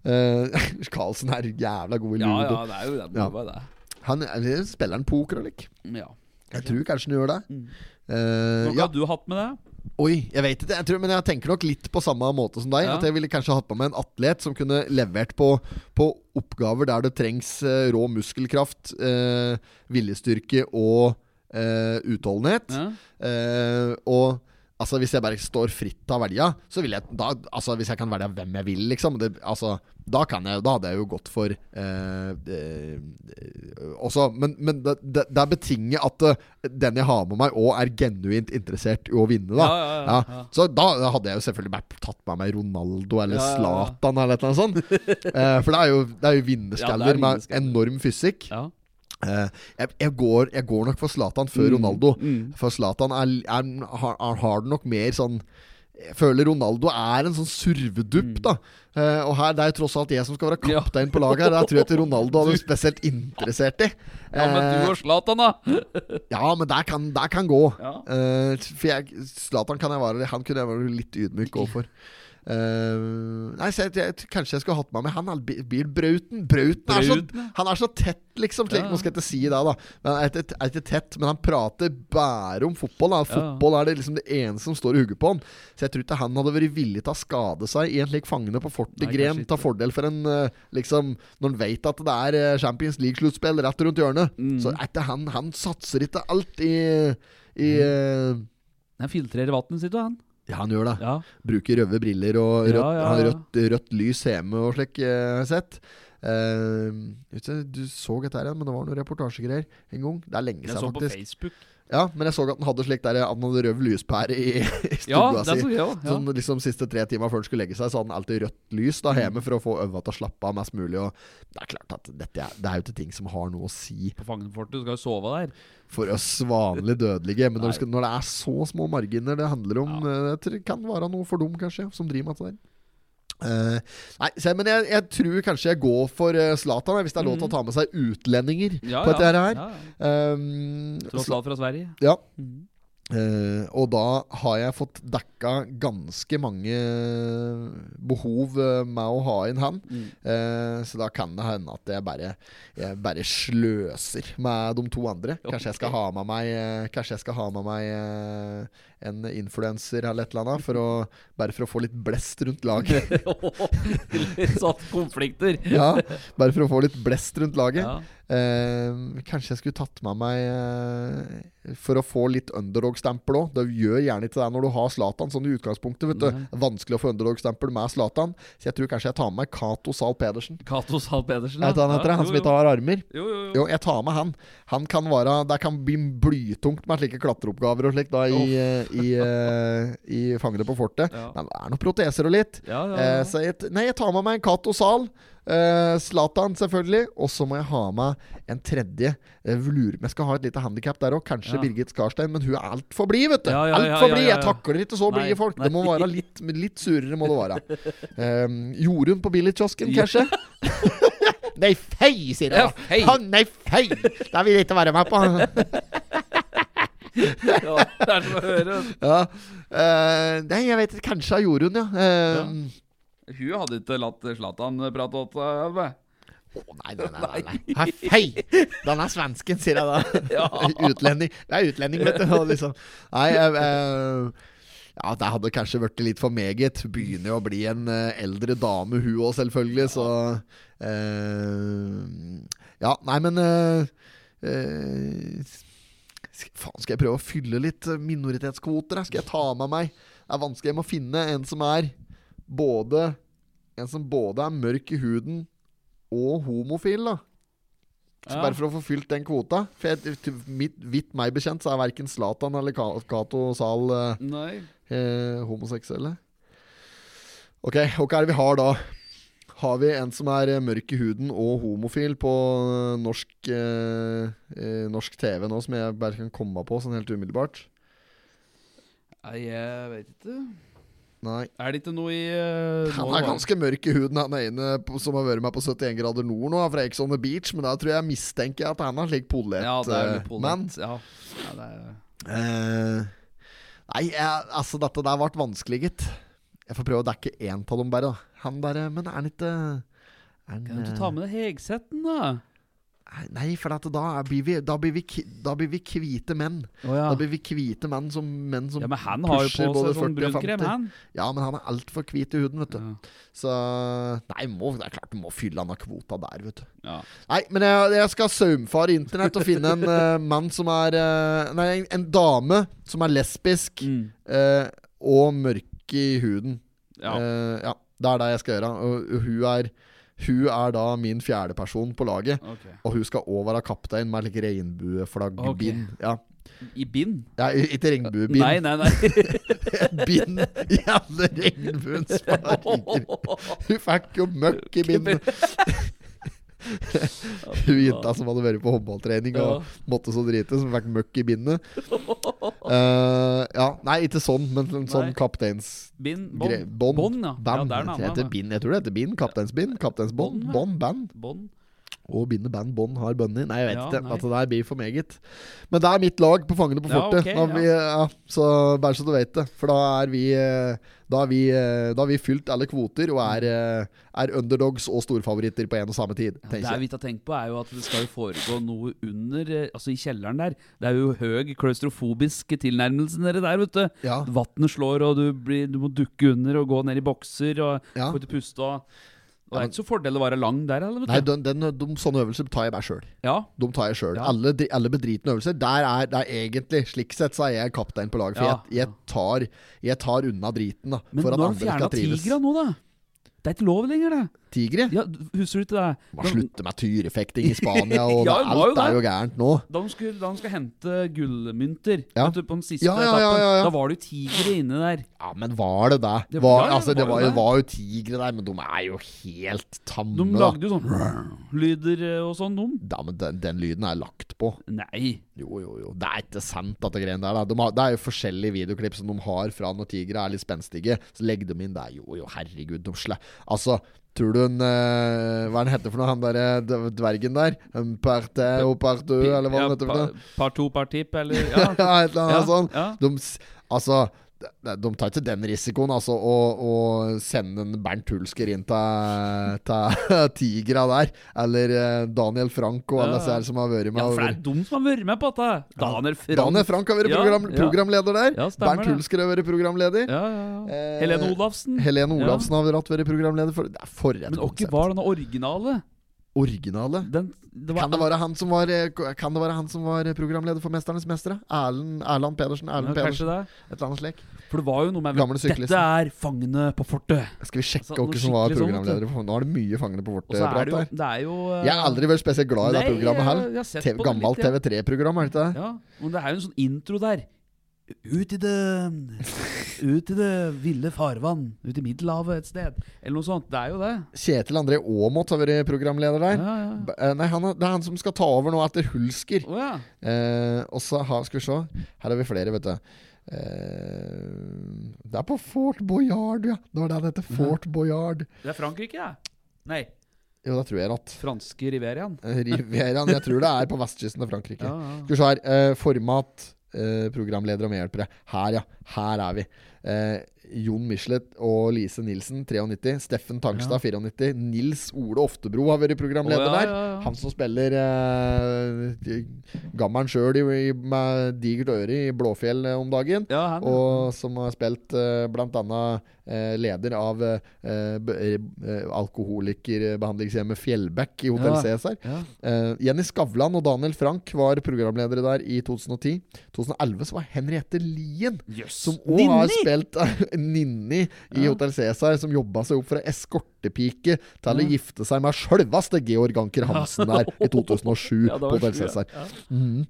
S1: Eh, Carlsen er jævla god i
S2: Ja,
S1: ludo.
S2: ja, det er jo det.
S1: Ja.
S2: Det var det.
S1: Han er- spiller han poker eller ikke?
S2: Ja. Mm.
S1: Jeg tror kanskje han gjør det.
S2: Hva
S1: Eh, ja.
S2: har du hatt med det?
S1: Oi, jeg vet ikke, jeg tror, men jeg tenker nok litt på samme måte som deg.
S2: Ja.
S1: At jeg ville kanskje hatt på meg en atlet som kunne levert på, på oppgaver der det trengs eh, rå muskelkraft, eh, viljestyrke og eh, utholdenhet.
S2: Ja.
S1: Eh, og altså, hvis jeg bare står fritt til å velge, så vil jeg da, altså, Hvis jeg kan velge hvem jeg vil, liksom det, altså, da, kan jeg, da hadde jeg jo gått for eh, eh, også, Men, men det, det, det er betinget at eh, den jeg har med meg, òg er genuint interessert i å vinne, da.
S2: Ja, ja, ja, ja.
S1: Så da hadde jeg jo selvfølgelig bare tatt med meg Ronaldo eller
S2: Ja, ja, ja.
S1: Zlatan eller et eller annet sånt. Eh, for det er jo, det er jo vinnerskaller med
S2: vinnerskaller.
S1: enorm fysikk.
S2: Ja.
S1: Eh, jeg, jeg, går, jeg går nok for Zlatan før Ronaldo.
S2: mm.
S1: For Zlatan er, er, har, har- har det nok mer sånn Jeg føler Ronaldo er en sånn survedupp, da. Eh, og her, det er jo tross alt jeg som skal være
S2: Mm. Ja.
S1: kaptein på laget. her Der tror jeg ikke Ronaldo hadde spesielt interessert i.
S2: ja, men du og Zlatan, da.
S1: Eh, ja, men der kan, der kan gå.
S2: Ja.
S1: Eh, for jeg, Zlatan kan jeg være Han kunne jeg være litt ydmyk overfor. Eh, nei, så jeg, jeg, Kanskje jeg skulle hatt meg med han. eller Bi- Bil Brauten. Brauten er så,
S2: Brauten, ja.
S1: han er så tett, liksom. Slik,
S2: Ja.
S1: Nå skal jeg ikke si det, da. Men han er ikke, er ikke tett, men han prater bare om fotball. Da. Fotball er det liksom det eneste som står i hugget på han. Så jeg tror ikke han hadde vært villig til å skade seg i en slik fangene på
S2: Nei,
S1: fortegren.
S2: kanskje ikke.
S1: Ta fordel for en eh, liksom Når han vet at det er eh, Champions League-sluttspill rett rundt hjørnet,
S2: Mm.
S1: så er ikke han Han satser ikke alt i, i
S2: Mm.
S1: eh,
S2: Han filtrerer vannet sitt, da, han.
S1: ja, han gjør det.
S2: Ja.
S1: Bruker røde briller og rødt,
S2: Ja, ja,
S1: han har
S2: ja.
S1: rødt, rødt lys hjemme og slik, eh, har jeg sett. Eh, vet du, du så dette her, igjen, men det var noen reportasjegreier en gang. Det er lenge
S2: Jeg
S1: siden,
S2: så på
S1: faktisk.
S2: Facebook.
S1: Ja, Men jeg så at han hadde slik der, at han hadde rød lyspære i, i
S2: Ja,
S1: stua
S2: det
S1: si.
S2: så jeg òg. Ja.
S1: Sånn liksom siste tre timer før han skulle legge seg, så hadde han alltid rødt lys
S2: Mm.
S1: da hjemme for å få øva til å slappe av mest mulig. Og det er klart at dette er, det er jo ikke ting som har noe å si
S2: På Fangenfortet, du skal jo sove der.
S1: for oss vanlig dødelige. Men når,
S2: Nei.
S1: det skal, når det er så små marginer det handler om, eh, jeg tror det kan være noe for dem, kanskje, som driver med det der. Eh, nei, se, men jeg, jeg tror kanskje jeg går for eh, Zlatan, hvis det er lov til å ta med seg utlendinger
S2: Mm. Ja,
S1: på dette
S2: ja.
S1: her.
S2: Ja, ja.
S1: Um,
S2: Tross alt fra Sverige.
S1: ja.
S2: Mhm.
S1: Eh, og da har jeg fått dekka ganske mange behov eh, med å ha inn han. Eh, så da kan det hende at jeg bare, jeg bare sløser med de to andre. Kanskje jeg skal ha med meg, eh, kanskje jeg skal ha med meg eh, en influenser eller et eller annet, for å, bare for å få litt blest rundt laget.
S2: Litt sånn konflikter.
S1: ja, bare for å få litt blest rundt laget.
S2: Ja.
S1: Eh, kanskje jeg skulle tatt med meg eh, for å få litt underdog-stempel òg. Det gjør gjerne ikke det når du har Zlatan sånn i utgangspunktet. vet du.
S2: Nei.
S1: Vanskelig å få underdog-stempel med Zlatan. Så jeg tror kanskje jeg tar med meg Cato Zahl Pedersen.
S2: Cato Zahl Pedersen.
S1: Er det han heter? Han som ikke har armer?
S2: Jo, jo, jo.
S1: Jo, jeg tar med han. Han kan være Det kan bli blytungt med slike klatreoppgaver og slikt da i, eh, i, eh, i Fangene på fortet.
S2: Ja.
S1: Men det er noen proteser og litt.
S2: Ja, ja,
S1: Eh,
S2: ja.
S1: så jeg, t- nei, jeg tar med meg en Cato Zahl. eh, Zlatan, selvfølgelig. Og så må jeg ha med en tredje. Uh, lurer om jeg skal ha et lite handikap der òg. Kanskje
S2: Ja.
S1: Birgit Skarstein, men hun er altfor blid, vet du.
S2: Ja, ja, ja,
S1: altfor
S2: ja,
S1: blid.
S2: ja,
S1: Jeg
S2: ja.
S1: takler ikke så
S2: Nei,
S1: blide folk. Det må
S2: nei.
S1: være litt, litt surere, må det være. Um, Jorunn på billigkiosken, kanskje? nei, fei, sier jeg.
S2: Ja,
S1: da.
S2: fei.
S1: Å, nei, fei! Det vil jeg ikke være med på.
S2: Ja, det er som å høre.
S1: ja. eh, nei, jeg vet ikke. Kanskje av Jorunn, ja. Um,
S2: Hun hadde ikke latt Zlatan prate åt seg. vet du.
S1: Å, Nei, nei, nei. nei, nei. Hei, Hei! Den er svensken, sier jeg da. utlending. Det er utlending, vet du. Og liksom. Nei, jeg, jeg- ja, det hadde kanskje blitt litt for meget. Begynner jo å bli en eh, eldre dame, hun òg, selvfølgelig, så eh, Ja, nei, men eh, eh, sk- Faen, skal jeg prøve å fylle litt eh, minoritetskvoter? da? Skal jeg ta med meg Det er vanskelig jeg må finne en som er både En som både er mørk i huden og homofil, da. Så
S2: Ja.
S1: Bare for å få fylt den kvota. For jeg, til mitt, vidt meg bekjent så er verken Zlatan eller Ka- Cato Zahl eh,
S2: Nei.
S1: eh, homoseksuelle. Ok, og hva er det vi har da? Har vi en som er eh, mørk i huden og homofil på eh, norsk, eh, eh, norsk TV nå, som jeg bare kan komme på sånn helt umiddelbart?
S2: Nei, jeg vet ikke.
S1: Nei.
S2: Er det ikke noe i eh,
S1: Han
S2: nå
S1: er
S2: var-
S1: ganske mørk i huden, han ene på- som har vært med på 71 grader nord nå, fra Ex on the Beach, men da tror jeg mistenker jeg at han er slik polett.
S2: Ja, det er
S1: eh,
S2: litt pollet.
S1: Men
S2: ja. ja, det er
S1: eh, Nei, jeg, altså, dette der ble vanskelig, gitt. Jeg får prøve å dekke én av dem bare, da. Han der, eh, Men er han ikke er han,
S2: Kan du
S1: eh,
S2: ta med deg Hegsetten, da?
S1: Nei, for at da, er, blir vi, da, blir vi, ki- da blir vi hvite menn.
S2: Å ja.
S1: Da blir vi hvite menn som, menn som
S2: ja, men han har jo
S1: pusher
S2: på
S1: både
S2: seg
S1: 40 og
S2: sånn brunkrem,
S1: 50.
S2: han.
S1: Ja, men han er altfor hvit i huden, vet du.
S2: Ja.
S1: Så Nei, må, det er klart du må fylle han av kvota der, vet du.
S2: Ja.
S1: Nei, men jeg, jeg skal saumfare internett og finne en eh, mann som er eh, Nei, en, en dame som er lesbisk
S2: Mm.
S1: eh, og mørk i huden.
S2: ja.
S1: Eh, ja. Det er det jeg skal gjøre. Og, og hun er Hun er da min fjerdeperson på laget.
S2: Ok.
S1: Og hun skal òg være kaptein med like regnbueflaggbind. Ja.
S2: I bind?
S1: ja, i- ikke regnbuebind.
S2: Nei, nei, nei.
S1: bind i alle regnbuens farger. Hun fikk jo møkk i bindet. Hun jenta som hadde vært på håndballtrening og måtte så drite, som fikk møkk i bindet. Eh, ja, nei, ikke sånn, men en sånn
S2: Nei.
S1: kapteins...
S2: Bind,
S1: gre-
S2: bånd.
S1: Bånd.
S2: Bånd, ja.
S1: Band.
S2: Ja, det er en
S1: jeg,
S2: annen, ja.
S1: bind. jeg tror det heter bind. Kapteinsbind. Kapteinsbånd.
S2: Bånd, ja.
S1: Bånd. Band.
S2: Bånd.
S1: Og bindet band. Bånd har bunny. Nei, jeg vet
S2: Ja,
S1: ikke.
S2: nei.
S1: At det der blir for meget. Men det er mitt lag på Fangene på
S2: Ja,
S1: fortet.
S2: ok,
S1: Da vi, ja, så bare så du vet det. For da er vi eh, Da har vi, eh, da har vi fylt alle kvoter og er, eh, er underdogs og storfavoritter på en og samme tid.
S2: Ja,
S1: tenker
S2: det
S1: jeg.
S2: vi ikke har tenkt på, er jo at det skal jo foregå noe under eh, Altså, i kjelleren der. Det er jo høy klaustrofobisk tilnærmelse nede der, vet du.
S1: Ja.
S2: Vannet slår, og du, blir, du må dukke under og gå ned i bokser og
S1: Ja.
S2: få ikke puste og og
S1: Ja,
S2: Det er
S1: men-
S2: ikke så fordel å være lang der heller,
S1: Nei,
S2: vet du.
S1: den, den, de, sånne øvelser tar jeg bare sjøl.
S2: Ja.
S1: De tar jeg sjøl.
S2: Ja.
S1: Alle, de- alle bedritne øvelser. Der er, der egentlig Slik sett så er jeg kaptein på laget. For
S2: Ja.
S1: jeg, jeg, tar, jeg tar unna driten, da.
S2: Men
S1: for
S2: nå
S1: at
S2: har
S1: andre
S2: de fjerna
S1: skal trives.
S2: tigra nå, da. Det er ikke lov lenger, det.
S1: Tigre?
S2: Ja, d- husker du ikke det?
S1: Man slutter med tyrefekting i Spania, og
S2: Ja,
S1: det-
S2: det var jo
S1: alt er
S2: det.
S1: jo gærent nå.
S2: Da de skulle, da de skulle hente gullmynter
S1: Ja.
S2: vet du, på den siste
S1: Ja, ja, ja,
S2: etappen,
S1: ja, ja.
S2: da var det jo tigre inne der.
S1: Ja, men var det det?
S2: Det
S1: var,
S2: var- ja,
S1: altså, det var,
S2: var det
S1: jo-
S2: det?
S1: var jo tigre der, men de er jo helt tamme.
S2: De
S1: da.
S2: lagde jo sånn lyder eh, og sånn, de.
S1: Ja, men den, den lyden er lagt på.
S2: Nei.
S1: Jo, jo, jo. Det er ikke sant, dette greiene der. Da. De har, det er jo forskjellige videoklipp som de har fra når tigre er litt spenstige. Så legger de inn der. Jo, jo, herregud, de slår Altså, tror du en eh, Hva er han heter for noe, han derre d- dvergen der? En parte og partu, eller hva
S2: Ja,
S1: han heter for noe?
S2: pa- Par to, par tipp, eller
S1: Ja,
S2: ja.
S1: et eller annet
S2: Ja,
S1: sånn.
S2: ja.
S1: De, s- altså, de, de tar ikke den risikoen, altså, å, å sende en Bernt Hulsker inn til til Tigra der. Eller eh, Daniel Franco,
S2: Ja,
S1: alle
S2: ja.
S1: disse her som har vært med.
S2: ja,
S1: og
S2: for det er
S1: vært-
S2: de som har vært med på dette. Daniel Frank.
S1: Daniel Frank har vært
S2: Ja,
S1: program,
S2: ja.
S1: programleder der.
S2: Ja, stemmer
S1: Bernt
S2: det.
S1: Hulsker har vært programleder.
S2: Ja, ja, ja.
S1: Eh,
S2: Helene Olafsen.
S1: Helene
S2: Ja.
S1: Olafsen har hatt vært programleder for Det er for et
S2: Men
S1: konsept.
S2: hvem var denne originale?
S1: originale.
S2: Den, det var,
S1: Kan det, være han som var, eh, ko- kan det være han som var programleder for 'Mesternes mestere'? Erlend, Erland Pedersen?
S2: Ja,
S1: Erlend
S2: kanskje
S1: Pedersen
S2: det.
S1: Et eller annet slik.
S2: For det var jo noe med
S1: Gamle
S2: Dette
S1: syklisten.
S2: er fangene på fortet.
S1: Skal vi sjekke
S2: Altså, noe
S1: hvem som var
S2: skikkelig sånn, vet du.
S1: programledere? For nå er det mye fangene på vårt
S2: Og så er
S1: prat
S2: det jo,
S1: her.
S2: det er jo eh,
S1: Jeg har aldri vært spesielt glad i det
S2: nei,
S1: programmet her.
S2: jeg- jeg har sett
S1: TV,
S2: på det
S1: gammelt
S2: litt, ja.
S1: TV3-program, er det ikke det?
S2: Ja, men det er jo en sånn intro der. Ut i det Ut i det ville farvann. Ut i Middelhavet et sted. Eller noe sånt. Det er jo det.
S1: Kjetil André Aamodt har vært programleder der.
S2: Ja, ja.
S1: B- eh, Nei, han, er- Det er han som skal ta over nå etter Hulsker.
S2: Å ja.
S1: Eh, og så har Skal vi se. Her har vi flere, vet du. Eh, det er på Fort Boyard, ja. Det var det han heter. Fort Boyard.
S2: Det er Frankrike, ja. Nei,
S1: Jo, det tror jeg at.
S2: franske Riveriaen.
S1: Riveraen. Jeg tror det er på vestkysten av Frankrike.
S2: Ja, ja.
S1: Skal vi se her. eh, format, eh, programledere og medhjelpere. Her, ja. Her er vi. Eh, Jon Michelet og Lise Nilsen, 93. Steffen Tangstad, 94. Nils Ole Oftebro har vært programleder
S2: Å, ja,
S1: der.
S2: ja, ja.
S1: Han som spiller uh, gammelen sjøl med digert øre i Blåfjell eh, om dagen.
S2: Ja, han, ja.
S1: Og som har spilt eh, blant annet eh, leder av eh, be- eh, alkoholikerbehandlingshjemmet Fjellbekk i Hotell
S2: Ja.
S1: Cæsar.
S2: ja.
S1: Eh, Jenny Skavlan og Daniel Frank var programledere der i 2010. 2011 så var Henriette Lien,
S2: Jøss.
S1: som òg har
S2: Ninni!
S1: spilt Ninni i Hotell Cæsar, som jobba seg opp fra eskortepike til å gifte seg med sjølveste Georg Anker Hansen der i 2007
S2: Ja, det
S1: på
S2: var
S1: Hotell
S2: sju, ja.
S1: Cæsar. Mhm.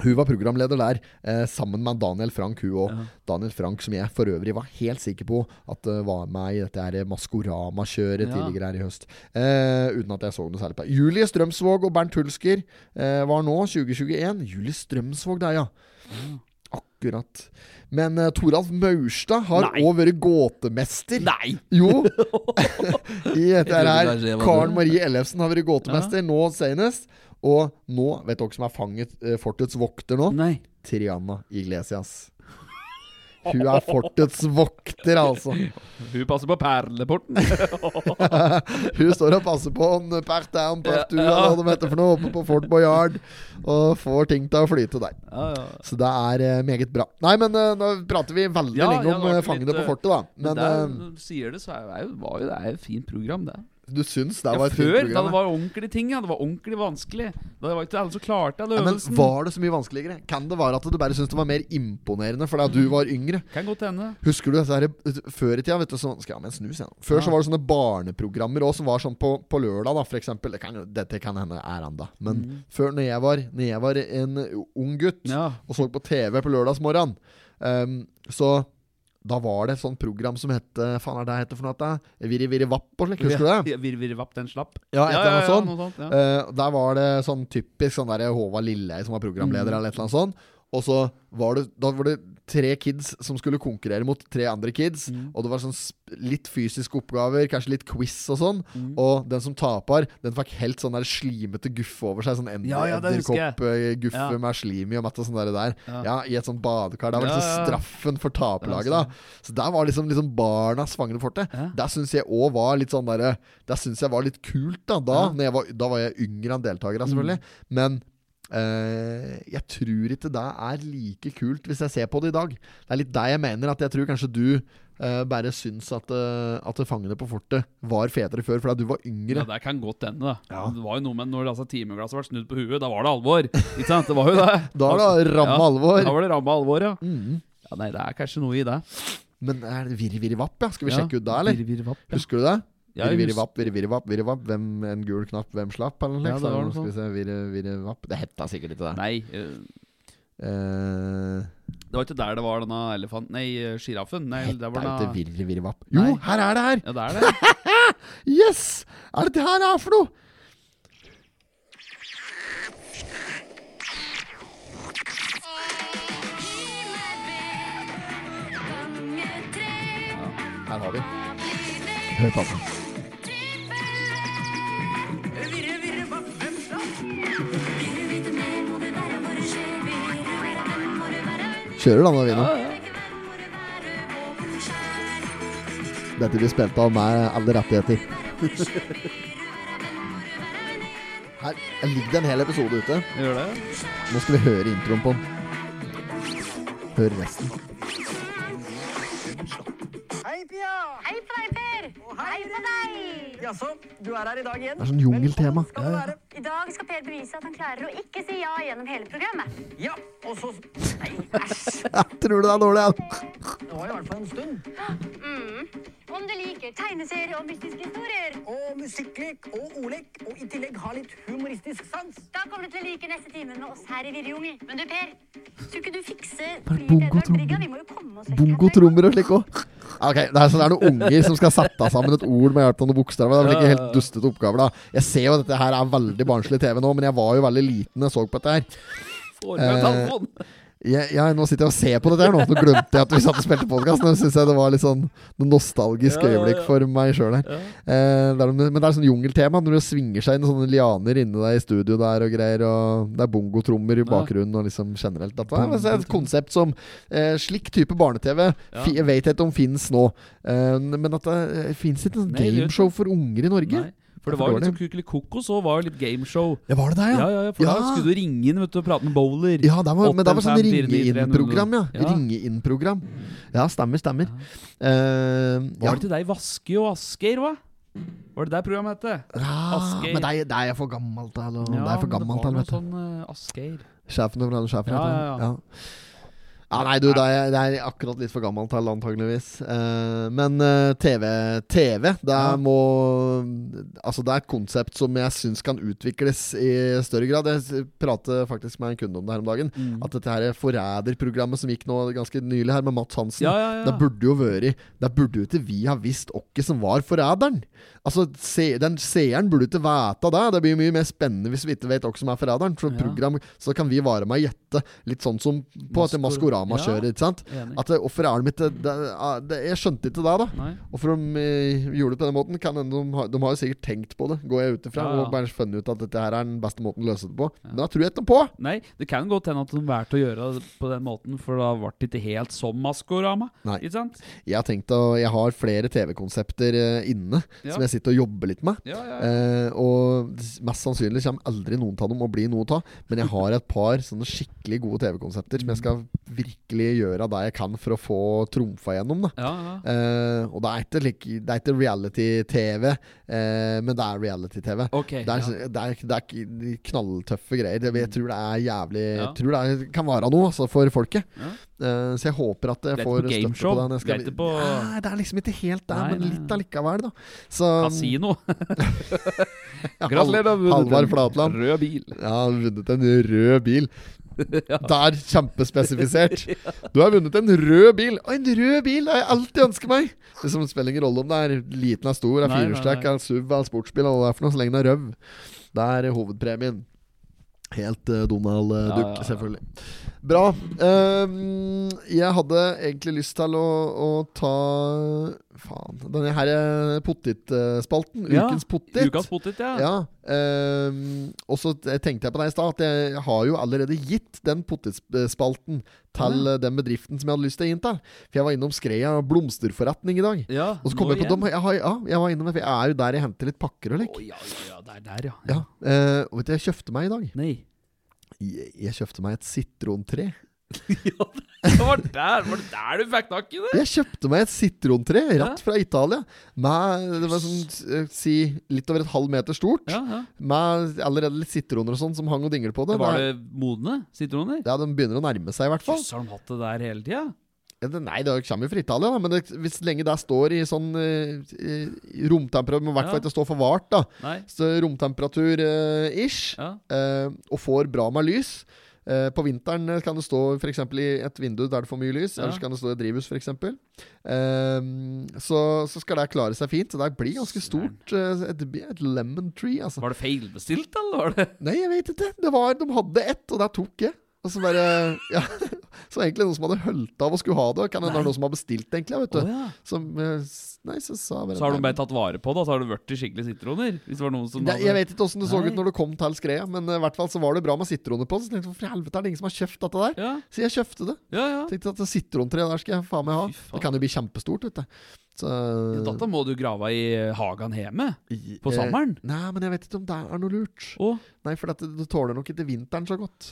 S1: Hun var programleder der, eh, sammen med Daniel Frank. Hun også. Daniel Frank, som jeg for øvrig var helt sikker på at eh, var med i dette her Maskorama-kjøret
S2: Ja.
S1: tidligere her i høst. Eh, uten at jeg så noe særlig på det. Julie Strømsvåg og Bernt Hulsker eh, var nå 2021. Julie Strømsvåg der, ja. Akkurat. Men eh, Toralf Maurstad har
S2: Nei.
S1: òg vært gåtemester.
S2: Nei!
S1: Jo! I dette
S2: Jeg trodde
S1: her.
S2: kanskje jeg var
S1: Karen Marie Ellefsen har vært gåtemester nå senest. Og nå, vet dere som er fanget eh, fortets vokter nå?
S2: Nei.
S1: Triana Iglesias. Hun er fortets vokter, altså.
S2: Hun passer på perleporten.
S1: Hun står og passer på en part down, part two, eller hva de heter for noe, oppe på Fort Boyard. Og får ting til å flyte der.
S2: Ja, ja.
S1: Så det er eh, meget bra. Nei, men eh, nå prater vi veldig
S2: Ja,
S1: lenge
S2: ja,
S1: om
S2: det
S1: eh,
S2: var
S1: fangene
S2: litt,
S1: på fortet, da.
S2: Men
S1: Men um,
S2: der, når du sier det, så er jo- er jo, var jo det er et fint program, det.
S1: eh, du syns det
S2: Ja,
S1: var et fint
S2: før, da
S1: program?
S2: det var ordentlige ting, ja. Det var ordentlig vanskelig. Da var ikke alle som klarte alle
S1: ja. Men
S2: øvelsen.
S1: var det så mye vanskeligere? Kan det være at du bare syns det var mer imponerende fordi at du var yngre?
S2: Kan godt hende.
S1: Husker du disse her, eh, Før i tida vet du, så, skal jeg ha med en snus, jeg nå. Før så var det sånne barneprogrammer også, som var sånn på, på lørdag, da, for eksempel. Det kan, jo- dette kan hende er enda. Men
S2: Mm.
S1: før, når jeg, var, når jeg var en ung gutt
S2: Ja.
S1: og så på TV på lørdagsmorgenen, ehm, så da var det et sånt program som het eh, Faen, er det det heter for noe? at det er? Virri Virri Vapp og slik, husker du det?
S2: Ja, vir, vir, vapp, den slapp.
S1: Ja, et eller annet sånt.
S2: noe sånt, ja.
S1: Eh, der var det sånn typisk sånn der Håvard Lilleheie som var programleder,
S2: Mm.
S1: eller et eller annet sånt. Og så var det, da var det tre kids som skulle konkurrere mot tre andre kids.
S2: Mm,
S1: Og det var sånn sp- litt fysiske oppgaver, kanskje litt quiz og sånn.
S2: mm.
S1: Og den som taper, den fikk helt sånn der slimete guffe over seg. Sånn ender,
S2: Ja, ja, det husker jeg.
S1: edderkoppguffe
S2: Ja.
S1: med slim i og matt og sånn der. der. Ja.
S2: Ja.
S1: I et sånt badekar. Det var
S2: Ja,
S1: liksom
S2: ja.
S1: straffen for taperlaget, da. Så der var liksom, liksom barnas fangende forte.
S2: Ja.
S1: Der syns jeg òg var litt sånn derre Der syns jeg var litt kult, da. Da,
S2: Ja. Mm.
S1: når jeg var, da var jeg yngre enn deltakerne, selvfølgelig. Men eh, jeg tror ikke det er like kult hvis jeg ser på det i dag. Det er litt det jeg mener, at jeg tror kanskje du eh, bare syns at, eh, at Fangene på fortet var fetere før, fordi du var
S2: Ja,
S1: yngre.
S2: det kan godt hende, da.
S1: Ja.
S2: Det var jo noe med når altså, timeglasset ble snudd på huet, da var det alvor. Ikke sant? Det var jo det.
S1: Da er det ramme alvor. Mm.
S2: Da var det ramme alvor, ja. ja. Nei, det er kanskje noe i det.
S1: Men er det Virri Virri Vapp, ja? Skal vi
S2: Ja.
S1: sjekke ut det, eller?
S2: Vir, vir, vapp, ja.
S1: Husker du det?
S2: Ja,
S1: Virri,
S2: jeg
S1: virri,
S2: hus-
S1: vapp, virri, virri, vapp, virri, vapp. Hvem en gul knapp, hvem slapp? Eller noe
S2: Ja, det
S1: slikt?
S2: var
S1: Nå
S2: noe
S1: skal vi se. Virri, virri, vapp. Det hetta sikkert ikke det.
S2: Nei, eh,
S1: Eh,
S2: det var ikke der det var denne elefanten Nei, eh, sjiraffen. Nei,
S1: hetta
S2: der
S1: er
S2: var
S1: jo ikke
S2: denne
S1: virri, virri, vapp. Jo,
S2: Nei.
S1: her er det her!
S2: Ja, det er det.
S1: Yes! Er det det her er for noe? Her har vi. Hør på den. Kjører den da, Vino. Dette blir spilt av meg alle rettigheter. Her ligger det en hel episode ute.
S2: Gjør det?
S1: Nå skal vi høre introen på den. Hør resten.
S5: Hei på deg, Per! Og Hei på deg!
S6: Jaså, du er her i dag igjen?
S1: Det er sånn jungeltema.
S6: Skal du være?
S5: I dag skal Per bevise at han klarer å ikke si ja gjennom hele programmet.
S6: Ja, og så Nei, æsj.
S1: Jeg tror det er dårlig, jeg.
S6: Det var i hvert fall en stund.
S5: Mm. Om du liker tegneserier og mystiske historier,
S6: Og musikklek og ordlek, og i tillegg ha litt humoristisk sans.
S5: da kommer du til å like neste time med oss her i Virjungi. Men du, Per, tror ikke du fikser
S1: Bare
S5: flyet
S1: bongo,
S5: Edvard
S1: trom-
S5: Brigga? Vi må jo komme oss vekk
S1: Bongo,
S5: herfra.
S1: trommer og slik òg. Ok, det er, så det er noen unger som skal sette sammen et ord med hjelp av noen bokstaver. Det er vel ikke helt dustete oppgaver, da. Jeg ser jo at dette her er veldig barnslig TV nå, men jeg var jo veldig liten da jeg så på dette her.
S2: Får meg telefon.
S1: Jeg, jeg, nå sitter jeg og ser på dette her nå, for nå glemte jeg at vi satt og spilte podkast. Nå syns jeg det var litt sånn noe nostalgisk
S2: Ja, ja, ja.
S1: øyeblikk for meg sjøl her. Eh, det er, noe- men det er sånn jungeltema når det svinger seg inn sånne lianer inne der i studio der og greier, og det er bongotrommer i bakgrunnen og liksom generelt. Dette er altså et konsept som eh, Slik type barne-TV fi- jeg vet jeg ikke om fins nå, eh, men at det eh, fins ikke noe
S2: Nei, det gjør
S1: gameshow for unger i Norge.
S2: Nei, for det var jo litt sånn kukelikokos og var jo litt gameshow.
S1: Ja, var det der,
S2: Ja, ja, ja, for
S1: Ja.
S2: da skulle du ringe inn vet du, og prate med bowler.
S1: Ja, det var, men det var sånn
S2: 815
S1: ringe-inn-program, ja.
S2: Ja.
S1: Ringe-inn-program. Ja, stemmer, stemmer. Eh, ja.
S2: Var det til deg Vaske og Asgeir, hva? Var det der programmet het?
S1: Ah,
S2: Asgeir.
S1: men det er, det er jeg for gammel til, eller? det er jeg for gammel til, vet du.
S2: Sånn, eh, Asgeir.
S1: Sjefen over alle sjefer,
S2: Ja,
S1: heter
S2: ja,
S1: han.
S2: ja.
S1: Ja. Ja, nei, du, det er, det er akkurat litt for gammel til, antageligvis. Eh, men eh, TV, TV det
S2: Ja.
S1: må Altså, det er et konsept som jeg syns kan utvikles i større grad. Jeg s- prater faktisk med en kunde om det her om dagen.
S2: Mm.
S1: At dette her Forræder-programmet som gikk nå ganske nylig her, med Matt Hansen,
S2: Ja, ja, ja.
S1: det burde jo vært Det burde jo ikke vi ha visst hvem som var forræderen. Altså, se, den seeren burde ikke vite det. Det blir jo mye mer spennende hvis vi ikke vet hvem som er forræderen. For
S2: Ja.
S1: program, så kan vi være med og gjette, litt sånn som på dette
S2: Maskor-
S1: Maskorama-kjøret.
S2: Ja.
S1: ikke sant?
S2: Enig.
S1: At eh, Hvorfor er de ikke det, ah, det, Jeg skjønte ikke det, da.
S2: Nei.
S1: Hvorfor de eh, gjorde det på den måten? Kan hende de, har- de har jo sikkert tenkt på det, går jeg ut ifra.
S2: Ja, ja.
S1: Og bare funnet ut at dette her er den beste måten å løse det på. Men da tror jeg ikke på!
S2: Nei, det kan godt hende at de valgte å gjøre det på den måten, for da ble det ikke helt som Maskorama.
S1: Nei.
S2: Ikke sant?
S1: Jeg har tenkt å Jeg har flere TV-konsepter eh, inne
S2: Ja.
S1: som jeg sitter og jobber litt med.
S2: Ja, ja, ja.
S1: Eh, og s- mest sannsynlig kommer aldri noen av dem å bli noe av. Men jeg har et par sånne skikkelig gode TV-konsepter som jeg skal virkelig gjøre det jeg kan for å få trumfa gjennom. Da.
S2: ja, ja.
S1: Eh, og det er ikke, like- det er ikke reality-TV, eh, men det er reality-TV.
S2: Ok.
S1: Det er,
S2: ja. Mm.
S1: det, er, det er k- knalltøffe greier. Det- Jeg tror det er jævlig
S2: Ja.
S1: Jeg tror det er, kan være noe altså, for folket.
S2: Ja.
S1: Eh, så jeg håper at jeg
S2: Det er
S1: får
S2: ikke på
S1: støtte på
S2: gameshow.
S1: det. når jeg skal-
S2: Det er ikke på
S1: Nei, det er liksom ikke helt der,
S2: Nei,
S1: men
S2: nei,
S1: litt
S2: nei.
S1: allikevel, da. Så,
S2: Kasino.
S1: Ja,
S2: Gratulerer, du har vunnet
S1: Halvard
S2: en
S1: Flatland.
S2: Rød bil.
S1: Ja, han har vunnet en rød bil. Der, kjempespesifisert. Du har vunnet en rød bil! Og en rød bil det har jeg alltid ønsket meg! Det som spiller ingen rolle om det er liten eller stor, er
S2: Nei, nei,
S1: firehjulstrekk,
S2: nei.
S1: er SUV, er sportsbil, eller hva det er for noe, så lenge det er røv. Det er eh, hovedpremien. Helt eh, Donald eh,
S2: Ja,
S1: Duck,
S2: ja, ja.
S1: selvfølgelig. Bra. Ehm, jeg hadde egentlig lyst til å, å ta Faen. Denne her eh, potetspalten.
S2: Ja,
S1: Ukens potet.
S2: Ukas potet, ja.
S1: Ja. ehm, og så t- tenkte jeg på deg i stad, at jeg har jo allerede gitt den potetspalten til eh, den bedriften som jeg hadde lyst til å gi den til. For jeg var innom Skreia blomsterforretning i dag.
S2: Ja,
S1: Og så kom
S2: nå
S1: jeg på
S2: igjen.
S1: dem. Jeg, har, ja, jeg var innom, for jeg er jo der jeg henter litt pakker og
S2: Å,
S1: lekk.
S2: ja, ja, ja, det er der, ja.
S1: Ja, eh, og vet du, jeg kjøpte meg i dag
S2: Nei.
S1: Jeg, jeg kjøpte meg et sitrontre.
S2: ja, det var der, var det der du fikk tak i det?
S1: Jeg kjøpte meg et sitrontre
S2: Ja.
S1: rett fra Italia. Med, det var sånn, eh, si, litt over et halv meter stort.
S2: Ja, ja.
S1: Med allerede litt sitroner og sånn som hang og dinglet på det.
S2: Var
S1: det
S2: det modne sitroner?
S1: ja, De begynner å nærme seg, i hvert fall.
S2: Jøss, har de hatt det der hele tida?
S1: Ja, det- Nei, det kommer jo fra Italia, da, men det, hvis lenge det står i sånn uh, romtemperatur Men i hvert fall
S2: Ja.
S1: ikke står for vart, da.
S2: Nei.
S1: Så romtemperatur-ish,
S2: Ja.
S1: eh, og får bra med lys. Eh, på vinteren eh, kan det stå for eksempel i et vindu der det får mye lys,
S2: Ja.
S1: ellers kan det stå i et drivhus f.eks. Um, så, så skal det klare seg fint. Så det blir ganske stort. eh, et, et lemon tree, altså.
S2: Var det feilbestilt, eller var det
S1: Nei, jeg vet ikke. Det var, de hadde ett, og der tok jeg. Og så bare ja. Så egentlig noen som hadde hølt av og skulle ha det. og Kan hende det er noen som har bestilt, det, egentlig. Vet du.
S2: Å, ja.
S1: Som eh, s- Nei, så sa jeg bare
S2: Så har de
S1: nei.
S2: bare tatt vare på det, og så har det blitt til skikkelig sitroner? Hvis det var noen som
S1: Det, jeg vet ikke åssen det så
S2: Nei.
S1: ut når det kom til skreia, men eh, i hvert fall så var det bra med sitroner på. Så tenkte jeg hvorfor i helvete er det ingen som har kjøpt dette der?
S2: Ja,
S1: Så jeg kjøpte det.
S2: ja. ja.
S1: Tenkte at det sitrontre der skal jeg faen meg ha.
S2: Fy faen.
S1: Det kan jo bli kjempestort, vet du. Så,
S2: Dette må du grave i hagen hjemme.
S1: I-
S2: på sommeren?
S1: Eh, nei, men jeg vet ikke om det er noe lurt.
S2: Å,
S1: Nei, for dette, det tåler nok ikke vinteren så godt.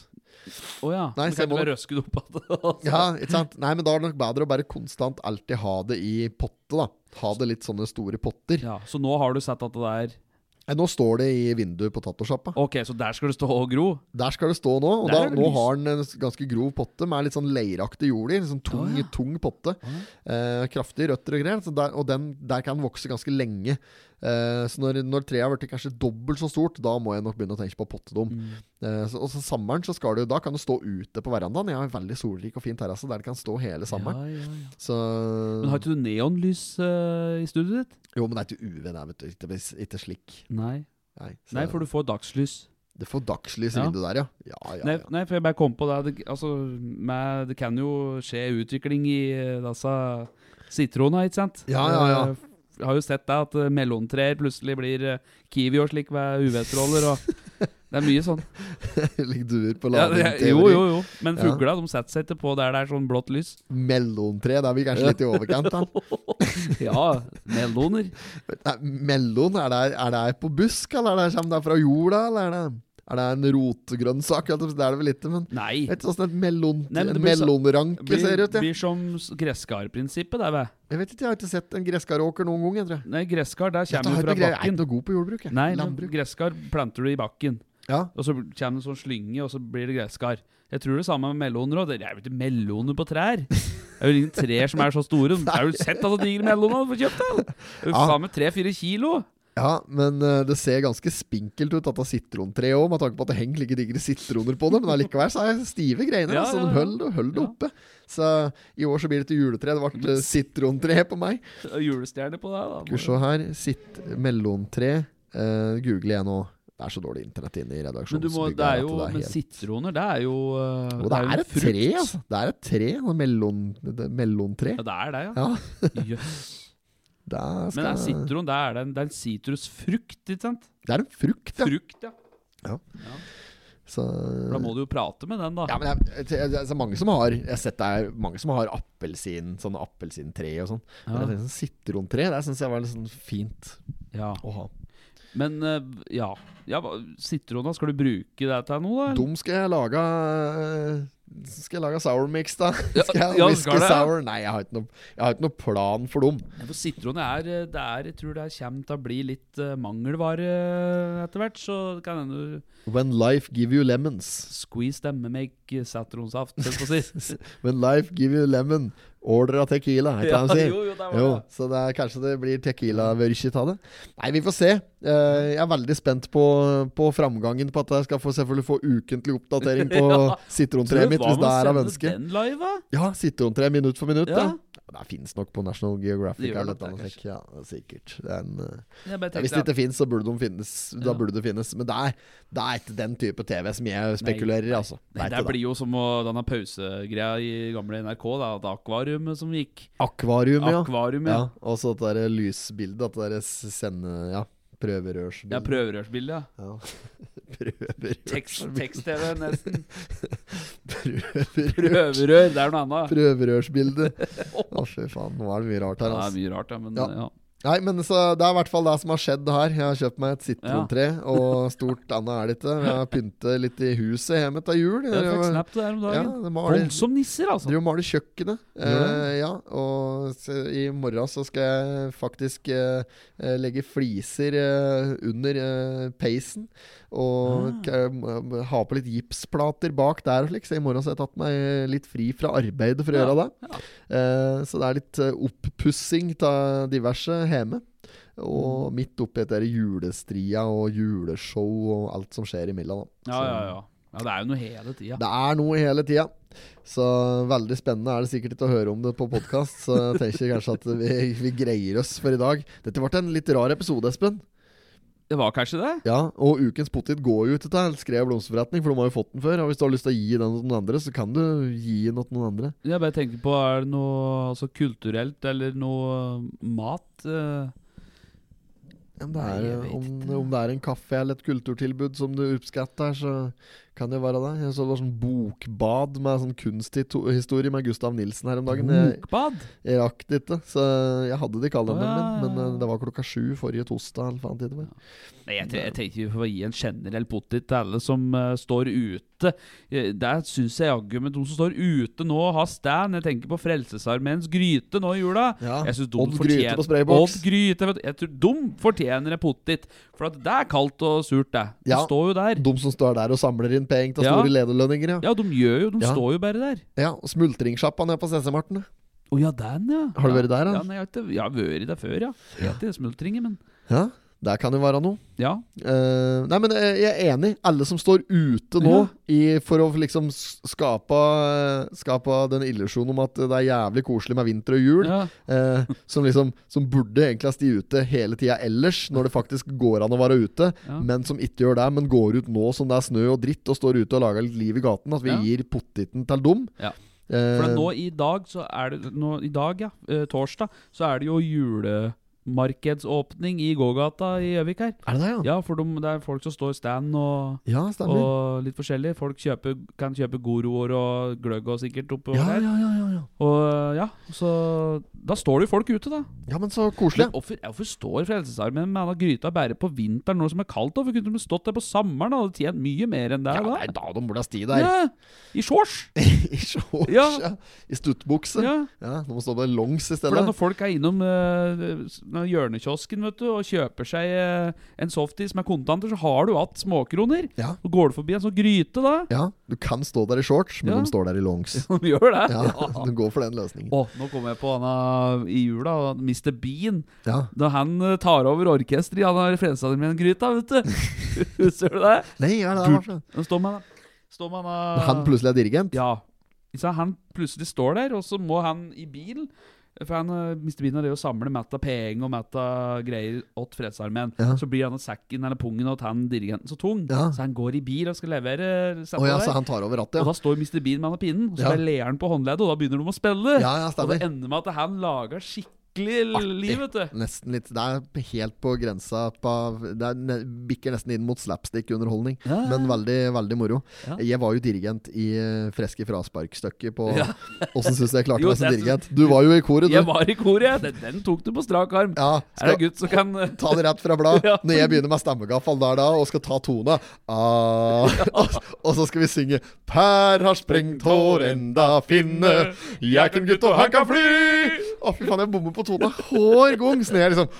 S2: å ja.
S1: Nei,
S2: du
S1: så jeg
S2: kan ikke
S1: må-
S2: bare røske det opp igjen. altså.
S1: Ja, ikke sant? Nei, men da er det nok bedre å bare konstant alltid ha det i potte, da. ha det litt sånne store potter.
S2: Ja, Så nå har du sett at det er
S1: Nei, nå står det i vinduet på tatosjappa.
S2: Ok, så der skal det stå og gro?
S1: Der skal det stå nå. Og
S2: Der
S1: da,
S2: er det
S1: nå
S2: lys.
S1: har den en s- ganske grov potte med litt sånn leiraktig jord i. Litt sånn tung,
S2: ja.
S1: tung potte. Eh, kraftige røtter og greier. Så der, og den, der kan den vokse ganske lenge. Eh, så når, når treet har blitt kanskje dobbelt så stort, da må jeg nok begynne å tenke på pottedom.
S2: Mm.
S1: Eh, så, og så sommeren så skal du, da kan du stå ute på verandaen. Jeg har en veldig solrik og fin terrasse der det kan stå hele sommeren.
S2: Ja, ja, ja.
S1: Så
S2: Men har ikke du neonlys eh, i studioet ditt?
S1: Jo, men det er ikke UV der, vet du. Ikke, ikke slik.
S2: Nei.
S1: Nei, så
S2: Nei, for du får dagslys.
S1: Det får dagslys i
S2: Ja.
S1: vinduet der, ja. Ja, ja,
S2: Nei,
S1: ja.
S2: nei, for jeg bare kom på det. det altså, med, det kan jo skje utvikling i eh, disse sitronene, ikke sant?
S1: Ja, ja, ja.
S2: Eh, Jeg har jo sett det, at eh, melontrær plutselig blir eh, kiwi og slik ved UV-stråler. og Det er mye sånn.
S1: Ligger duer på
S2: Ja,
S1: lading.
S2: det, jo, jo, jo. Men
S1: Ja.
S2: fugla de setter seg ikke på der det er sånn blått lys.
S1: Mellomtre, det er vi kanskje litt i overkant. Da.
S2: Ja, meloner.
S1: Nei, mellom, er det, er det på busk, eller er det, kommer det fra jorda? Eller er det, er det en rotgrønnsak? eller noe sånt? Det er det vel ikke, men
S2: Nei.
S1: jeg vet ikke åssen et mellom,
S2: Nei, men det
S1: en
S2: blir så-
S1: mellomranke ser
S2: Blir,
S1: ut. Ja.
S2: blir som s- gresskarprinsippet, det, vet
S1: Jeg vet ikke, jeg har ikke sett en gresskarråker noen gang, jeg tror jeg.
S2: Nei, gresskar, der
S1: Dette
S2: kommer
S1: har
S2: du fra
S1: ikke greie- Jeg er
S2: bakken.
S1: ikke noe god på jordbruk. Jeg.
S2: Nei, men
S1: Landbruk.
S2: gresskar planter du i bakken.
S1: Ja.
S2: Og så kommer det en sånn slynge, og så blir det gresskar. Jeg tror det samme med meloner òg. Det er jo ikke meloner på trær. Det er jo ingen trær som er så store. Har du sett altså digre meloner du får kjøpt? da? Det er jo
S1: Ja.
S2: Samme tre-fire kilo.
S1: ja, men eh, det ser ganske spinkelt ut, dette sitrontreet òg, med tanke på at det henger like digre sitroner på det, men allikevel så er det stive greiner.
S2: Ja,
S1: altså,
S2: ja,
S1: de
S2: ja.
S1: holder holder det
S2: Ja.
S1: oppe. Så i år så blir det ikke juletre, det ble eh, sitrontre på meg.
S2: Og Julestjerne på deg, da.
S1: Skal vi se her. Sitt mellomtre. Eh, Google jeg nå. Det er så dårlig internett inne i redaksjonen.
S2: Men, du må, det er jo, men sitroner, det er jo eh,
S1: Og det
S2: jo
S1: er
S2: en
S1: et
S2: frukt.
S1: tre, altså. Det er et tre. noe mellom- det- Mellomtre.
S2: Ja, det er det,
S1: Ja.
S2: ja. Jøss.
S1: Der skal,
S2: Men det er sitron, det er det en- det er en sitrusfrukt, ikke sant?
S1: det er en frukt, ja.
S2: Frukt, ja.
S1: Så,
S2: Da må du jo prate med den, da.
S1: ja, men det er, det er mange som har Jeg har sett det er mange som har appelsin, sånne appelsintre og sånn. Men
S2: Ja.
S1: jeg tenkte sånn sitrontre, det syns jeg var litt sånn fint
S2: Ja.
S1: å ha.
S2: Men eh, ja. ja hva- Sitrona, skal du bruke det til noe, da? eller?
S1: Dum skal jeg lage eh, Skal jeg lage sour mix, da?
S2: Ja,
S1: Skal jeg
S2: ja,
S1: whisky
S2: skal det?
S1: sour? Nei, jeg har ikke noe, jeg har ikke noe plan for dem.
S2: Nei, For sitron er, eh, det er Jeg tror det er- kommer til å bli litt eh, mangelvare eh, etter hvert, så det kan hende du
S1: When life give you lemons
S2: squeeze dem med make sitronsaft, holdt på å si.
S1: When life give you lemon Order av tequila, er ikke
S2: Ja,
S1: det de sier?
S2: jo, jo, det var
S1: Jo,
S2: det.
S1: så det er, kanskje det blir tequila-vørkit av det. Nei, vi får se. Eh, jeg er veldig spent på, på framgangen på at jeg skal få, selvfølgelig få ukentlig oppdatering på
S2: Ja.
S1: sitrontreet mitt, hvis det er av ønske.
S2: den live, da?
S1: Ja, sitrontreet minutt for minutt. Ja.
S2: Ja.
S1: Det fins nok på National Geographic.
S2: Det gjør
S1: eller
S2: nok det,
S1: noe slikt. Ja, sikkert. Det er en... eh,
S2: Jeg bare
S1: Ja, hvis
S2: tenkte
S1: det
S2: at-
S1: ikke finnes, så burde de finnes. Da
S2: Ja.
S1: burde det finnes. Men det er, det er ikke den type TV som jeg spekulerer i, altså. Det
S2: Nei, det
S1: er ikke
S2: blir
S1: det.
S2: jo som å, denne pausegreia i gamle NRK, da, at akvariumet som gikk.
S1: Akvarium, ja.
S2: Akvarium,
S1: ja.
S2: ja.
S1: Og så det derre lysbildet. At det derre sende... Ja, prøverørsbildet.
S2: Ja, prøverørsbilde, ja.
S1: Ja. Prøverørs-
S2: Tekst- Tekst-TV, nesten.
S1: Prøverørs-
S2: Prøverør, det er noe annet.
S1: Prøverørsbildet. Å, fy faen. Nå er det mye rart her,
S2: Ja,
S1: altså.
S2: det er mye rart, ja, men
S1: Ja.
S2: eh, ja.
S1: Nei, men så Det er i hvert fall det som har skjedd her. Jeg har kjøpt meg et sitrontre, og stort annet er det ikke. Jeg har pyntet litt i huset hjemme til jul.
S2: Jeg fikk snap til det her om
S1: Ja,
S2: dagen.
S1: det må være-
S2: Kom som nisser, altså.
S1: Driver og maler kjøkkenet.
S2: Gjør det?
S1: Eh, ja, og så i morgen så skal jeg faktisk eh, eh, legge fliser eh, under eh, peisen. Og
S2: Ah.
S1: k- m- m- ha på litt gipsplater bak der og slik, så i morgen så har jeg tatt meg eh, litt fri fra arbeidet for å gjøre det. Eh, så det er litt eh, oppussing av diverse hjemme. Og
S2: Mm.
S1: midt oppi dette her julestria og juleshow og alt som skjer imellom. da.
S2: Ja,
S1: Så-
S2: ja, ja. Ja, det er jo noe hele tida.
S1: det er noe hele tida. Så veldig spennende er det sikkert ikke å høre om det på podkast. Så jeg tenker kanskje at vi, vi greier oss for i dag. Dette ble en litt rar episode, Espen.
S2: Det var kanskje det?
S1: Ja, Og ukens potet går jo til deg. Skrev blomsterforretning, for de har jo fått den før. Og hvis du har lyst til å gi den til noen andre, så kan du gi den til noen andre.
S2: Jeg bare tenker på, er det noe altså, kulturelt eller noe eh, mat? eh,
S1: Ja, men det
S2: Nei, jeg
S1: er,
S2: vet
S1: om,
S2: ikke.
S1: om det er en kaffe eller et kulturtilbud som du oppskatter, så Kan det være det? Jeg så det var sånn bokbad med sånn kunsthistorie med Gustav Nilsen her om dagen. Jeg,
S2: Bokbad?
S1: jeg rakk det ikke, så jeg hadde det i kalenderen
S2: Å, ja,
S1: min. Men
S2: ja, ja.
S1: eh, det var klokka sju forrige torsdag. Eller faen tid det var.
S2: Nei, jeg, tre- jeg tenker vi får gi en generell pottit til alle som eh, står ute. Eh, Der syns jeg jaggu men de som står ute nå, har stand. Jeg tenker på Frelsesarmeens gryte nå i jula.
S1: Ja,
S2: Jeg synes de
S1: Odd
S2: fortjener-
S1: Gryte på sprayboks.
S2: Odd Gryte, vet du. Jeg tror de fortjener en pottit. For at det er kaldt og surt, det. De
S1: Ja.
S2: står jo der.
S1: De som står der og samler inn penger til
S2: Ja.
S1: store lederlønninger, ja.
S2: Ja, de gjør jo De
S1: Ja.
S2: står jo bare der.
S1: ja. og Smultringssjappa nede på CC-Marten.
S2: Å ja, den, ja.
S1: Har du
S2: Ja.
S1: vært der, da?
S2: Ja, nei, jeg, har ikke, jeg har vært der før, ja. Jeg har ikke smultringer, men
S1: Ja, der kan det være noe.
S2: ja.
S1: Eh, nei, men eh, jeg er enig. Alle som står ute nå i, for å liksom s- skape, eh, skape den illusjonen om at det er jævlig koselig med vinter og jul,
S2: ja.
S1: eh, som liksom Som burde egentlig ha stått ute hele tida ellers, når det faktisk går an å være ute,
S2: Ja.
S1: men som ikke gjør det, men går ut nå som det er snø og dritt, og står ute og lager litt liv i gaten, at vi
S2: Ja.
S1: gir pottiten til dem.
S2: Ja.
S1: Eh,
S2: For nå i dag, så er det nå, I dag, ja, eh, torsdag, så er det jo julemarkedsåpning i gågata i Gjøvik her.
S1: er det det, ja?
S2: Ja, for de, det er folk som står i stand og
S1: Ja, stemmer.
S2: og litt forskjellig. Folk kjøper, kan kjøpe goroer og gløgg og sikkert oppover
S1: ja,
S2: der.
S1: ja, ja, ja, ja.
S2: Og eh, ja, så Da står det jo folk ute, da.
S1: ja, men så koselig.
S2: Men hvorfor, ja, hvorfor står Frelsesarmeen med denne gryta bare på vinteren når som er kaldt? da? Hvorfor kunne de stått der på sommeren? da? Hadde tjent mye mer enn det
S1: Ja,
S2: da.
S1: nei, da de burde ha sti der.
S2: Ja, I shorts!
S1: I shorts, ja.
S2: Ja.
S1: I stuttbukse. Ja.
S2: Ja.
S1: Nå må stå på longs i
S2: For
S1: stedet.
S2: når folk er innom eh, s- når hjørnekiosken vet du, og kjøper seg eh, en softis med kontanter, så har du hatt småkroner.
S1: Ja.
S2: Og går du forbi en sånn gryte da
S1: Ja, du kan stå der i shorts, men
S2: Ja.
S1: de står der i longs.
S2: De gjør det.
S1: Ja,
S2: Ja.
S1: Du går for den løsningen.
S2: Å, nå kommer jeg på han eh, i jula, han Mr. Bean.
S1: Ja.
S2: Da han eh, tar over orkesteret i han har Frelsesarmeen-gryta, vet du. Husker du det?
S1: Nei, ja, det er varsomt.
S2: Nå står man Står man eh,
S1: Når han plutselig er dirigent?
S2: Ja. Så han plutselig står der, og så må han i bil For han eh, mister bilen av det å samle mett av penger og mett av greier åt Fredsarmeen.
S1: Ja.
S2: Så blir han sekken eller pungen åt han dirigenten så tung,
S1: Ja.
S2: så han går i bil og skal levere. eh, sette
S1: Å ja,
S2: der.
S1: så han tar over rattet,
S2: Og
S1: ja.
S2: da står Mr. Bean med han av pinnen, og så
S1: Ja.
S2: bare ler han på håndleddet, og da begynner de å spille.
S1: Ja, ja,
S2: og det
S1: stemmer.
S2: ender med at han lager skikkelig
S1: Artig.
S2: liv, vet du.
S1: Nesten litt Det er helt på grensa på, Det er, ne, bikker nesten inn mot slapstick-underholdning,
S2: Ja.
S1: men veldig veldig moro.
S2: Ja.
S1: Jeg var jo dirigent i eh, Freske frasparkstykket på Åssen syns du jeg klarte
S2: Jo,
S1: meg som
S2: det-
S1: dirigent? Du var jo i koret, du.
S2: Jeg var i koret, jeg. Den, den tok du på strak arm.
S1: Ja,
S2: Er det
S1: skal-
S2: en gutt som kan eh,
S1: Ta det rett fra blad.
S2: Ja.
S1: Når jeg begynner med stemmegaffel der da, og skal ta tona ah, og, og så skal vi synge Per har sprengt hår enda finne. Jeg kan gutt, og han kan fly. Å, fy faen, jeg bommer på tona hver gang. Så når jeg liksom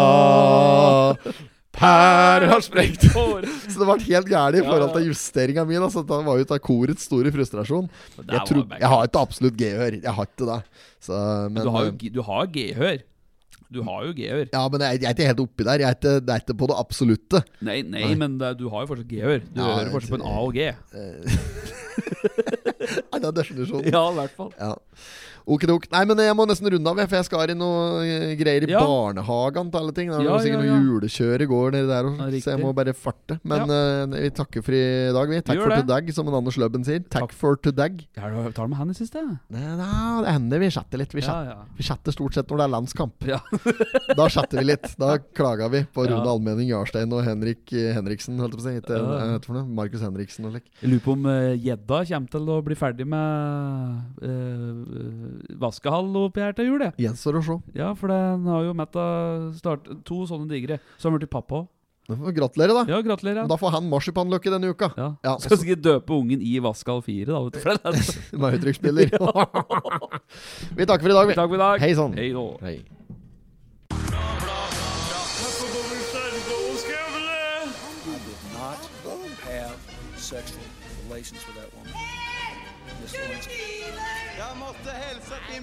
S1: ah, Per har sprengt
S2: hår?
S1: Så det ble helt gærent i
S2: Ja,
S1: forhold
S2: ja.
S1: til justeringa mi. Altså, det var jo ut av korets store frustrasjon.
S2: Det
S1: Jeg,
S2: var
S1: trodde-
S2: back-
S1: jeg har ikke absolutt gehør. Jeg har ikke det. Så, men,
S2: Du har jo
S1: eh,
S2: g- du har gehør. Du har jo gehør.
S1: Ja, men jeg, jeg er ikke helt oppi der. Jeg er ikke, det er ikke på det absolutte.
S2: Nei, nei, men det, du har jo fortsatt G-ør. Du
S1: Ja,
S2: hører fortsatt på en A og G.
S1: Nei, det er definisjonen.
S2: Ja, i hvert fall.
S1: Ja. Ok, ok. Nei, men jeg må nesten runde av, jeg, for jeg skal i noe eh, greier i
S2: Ja.
S1: barnehagen til alle ting. Det er
S2: Ja,
S1: jo sikkert
S2: ja, ja.
S1: noe julekjør i går nedi der, også,
S2: Ja,
S1: så jeg
S2: riktig.
S1: må bare farte. Men eh, vi takker for i dag, vi. Takk
S2: gjør
S1: for
S2: det.
S1: todag, som en Anders Løbben sier. Takk
S2: Takk.
S1: for todag.
S2: Ja, du har talt med han i siste?
S1: Nei, nei, det hender vi chatter litt. Vi
S2: Ja,
S1: chatter,
S2: ja.
S1: vi chatter stort sett når det er landskamp.
S2: Ja.
S1: Da chatter vi litt. Da klager vi på
S2: Ja.
S1: Rune Almenning, Jarstein og Henrik eh, Henriksen, holdt jeg på å si. Ikke-
S2: Ja.
S1: eh, vet du for noe? Markus Henriksen og lik.
S2: Jeg lurer på om eh, gjedda kommer til å bli ferdig med eh, eh, vaskehall oppi her til jul, jeg.
S1: Gjenstår å se.
S2: Ja, for den har jo Metta startet to sånne digre. Så har han blitt pappa òg.
S1: Da får vi Gratulere, da.
S2: Ja, gratulerer.
S1: Da får han marsipanløkke denne uka.
S2: Ja.
S1: Ja,
S2: Skal sikkert døpe ungen i Vaskehall 4, da. Vet du, for det er-
S1: Med høytrykksspiller. vi takker for i dag, vi.
S2: Takk for i dag.
S1: Hei sånn. sann.
S2: Hei då.
S1: Hei.
S4: Not have sexual relations with that woman. Miss Lewinsky.
S7: Jag måste hälsa till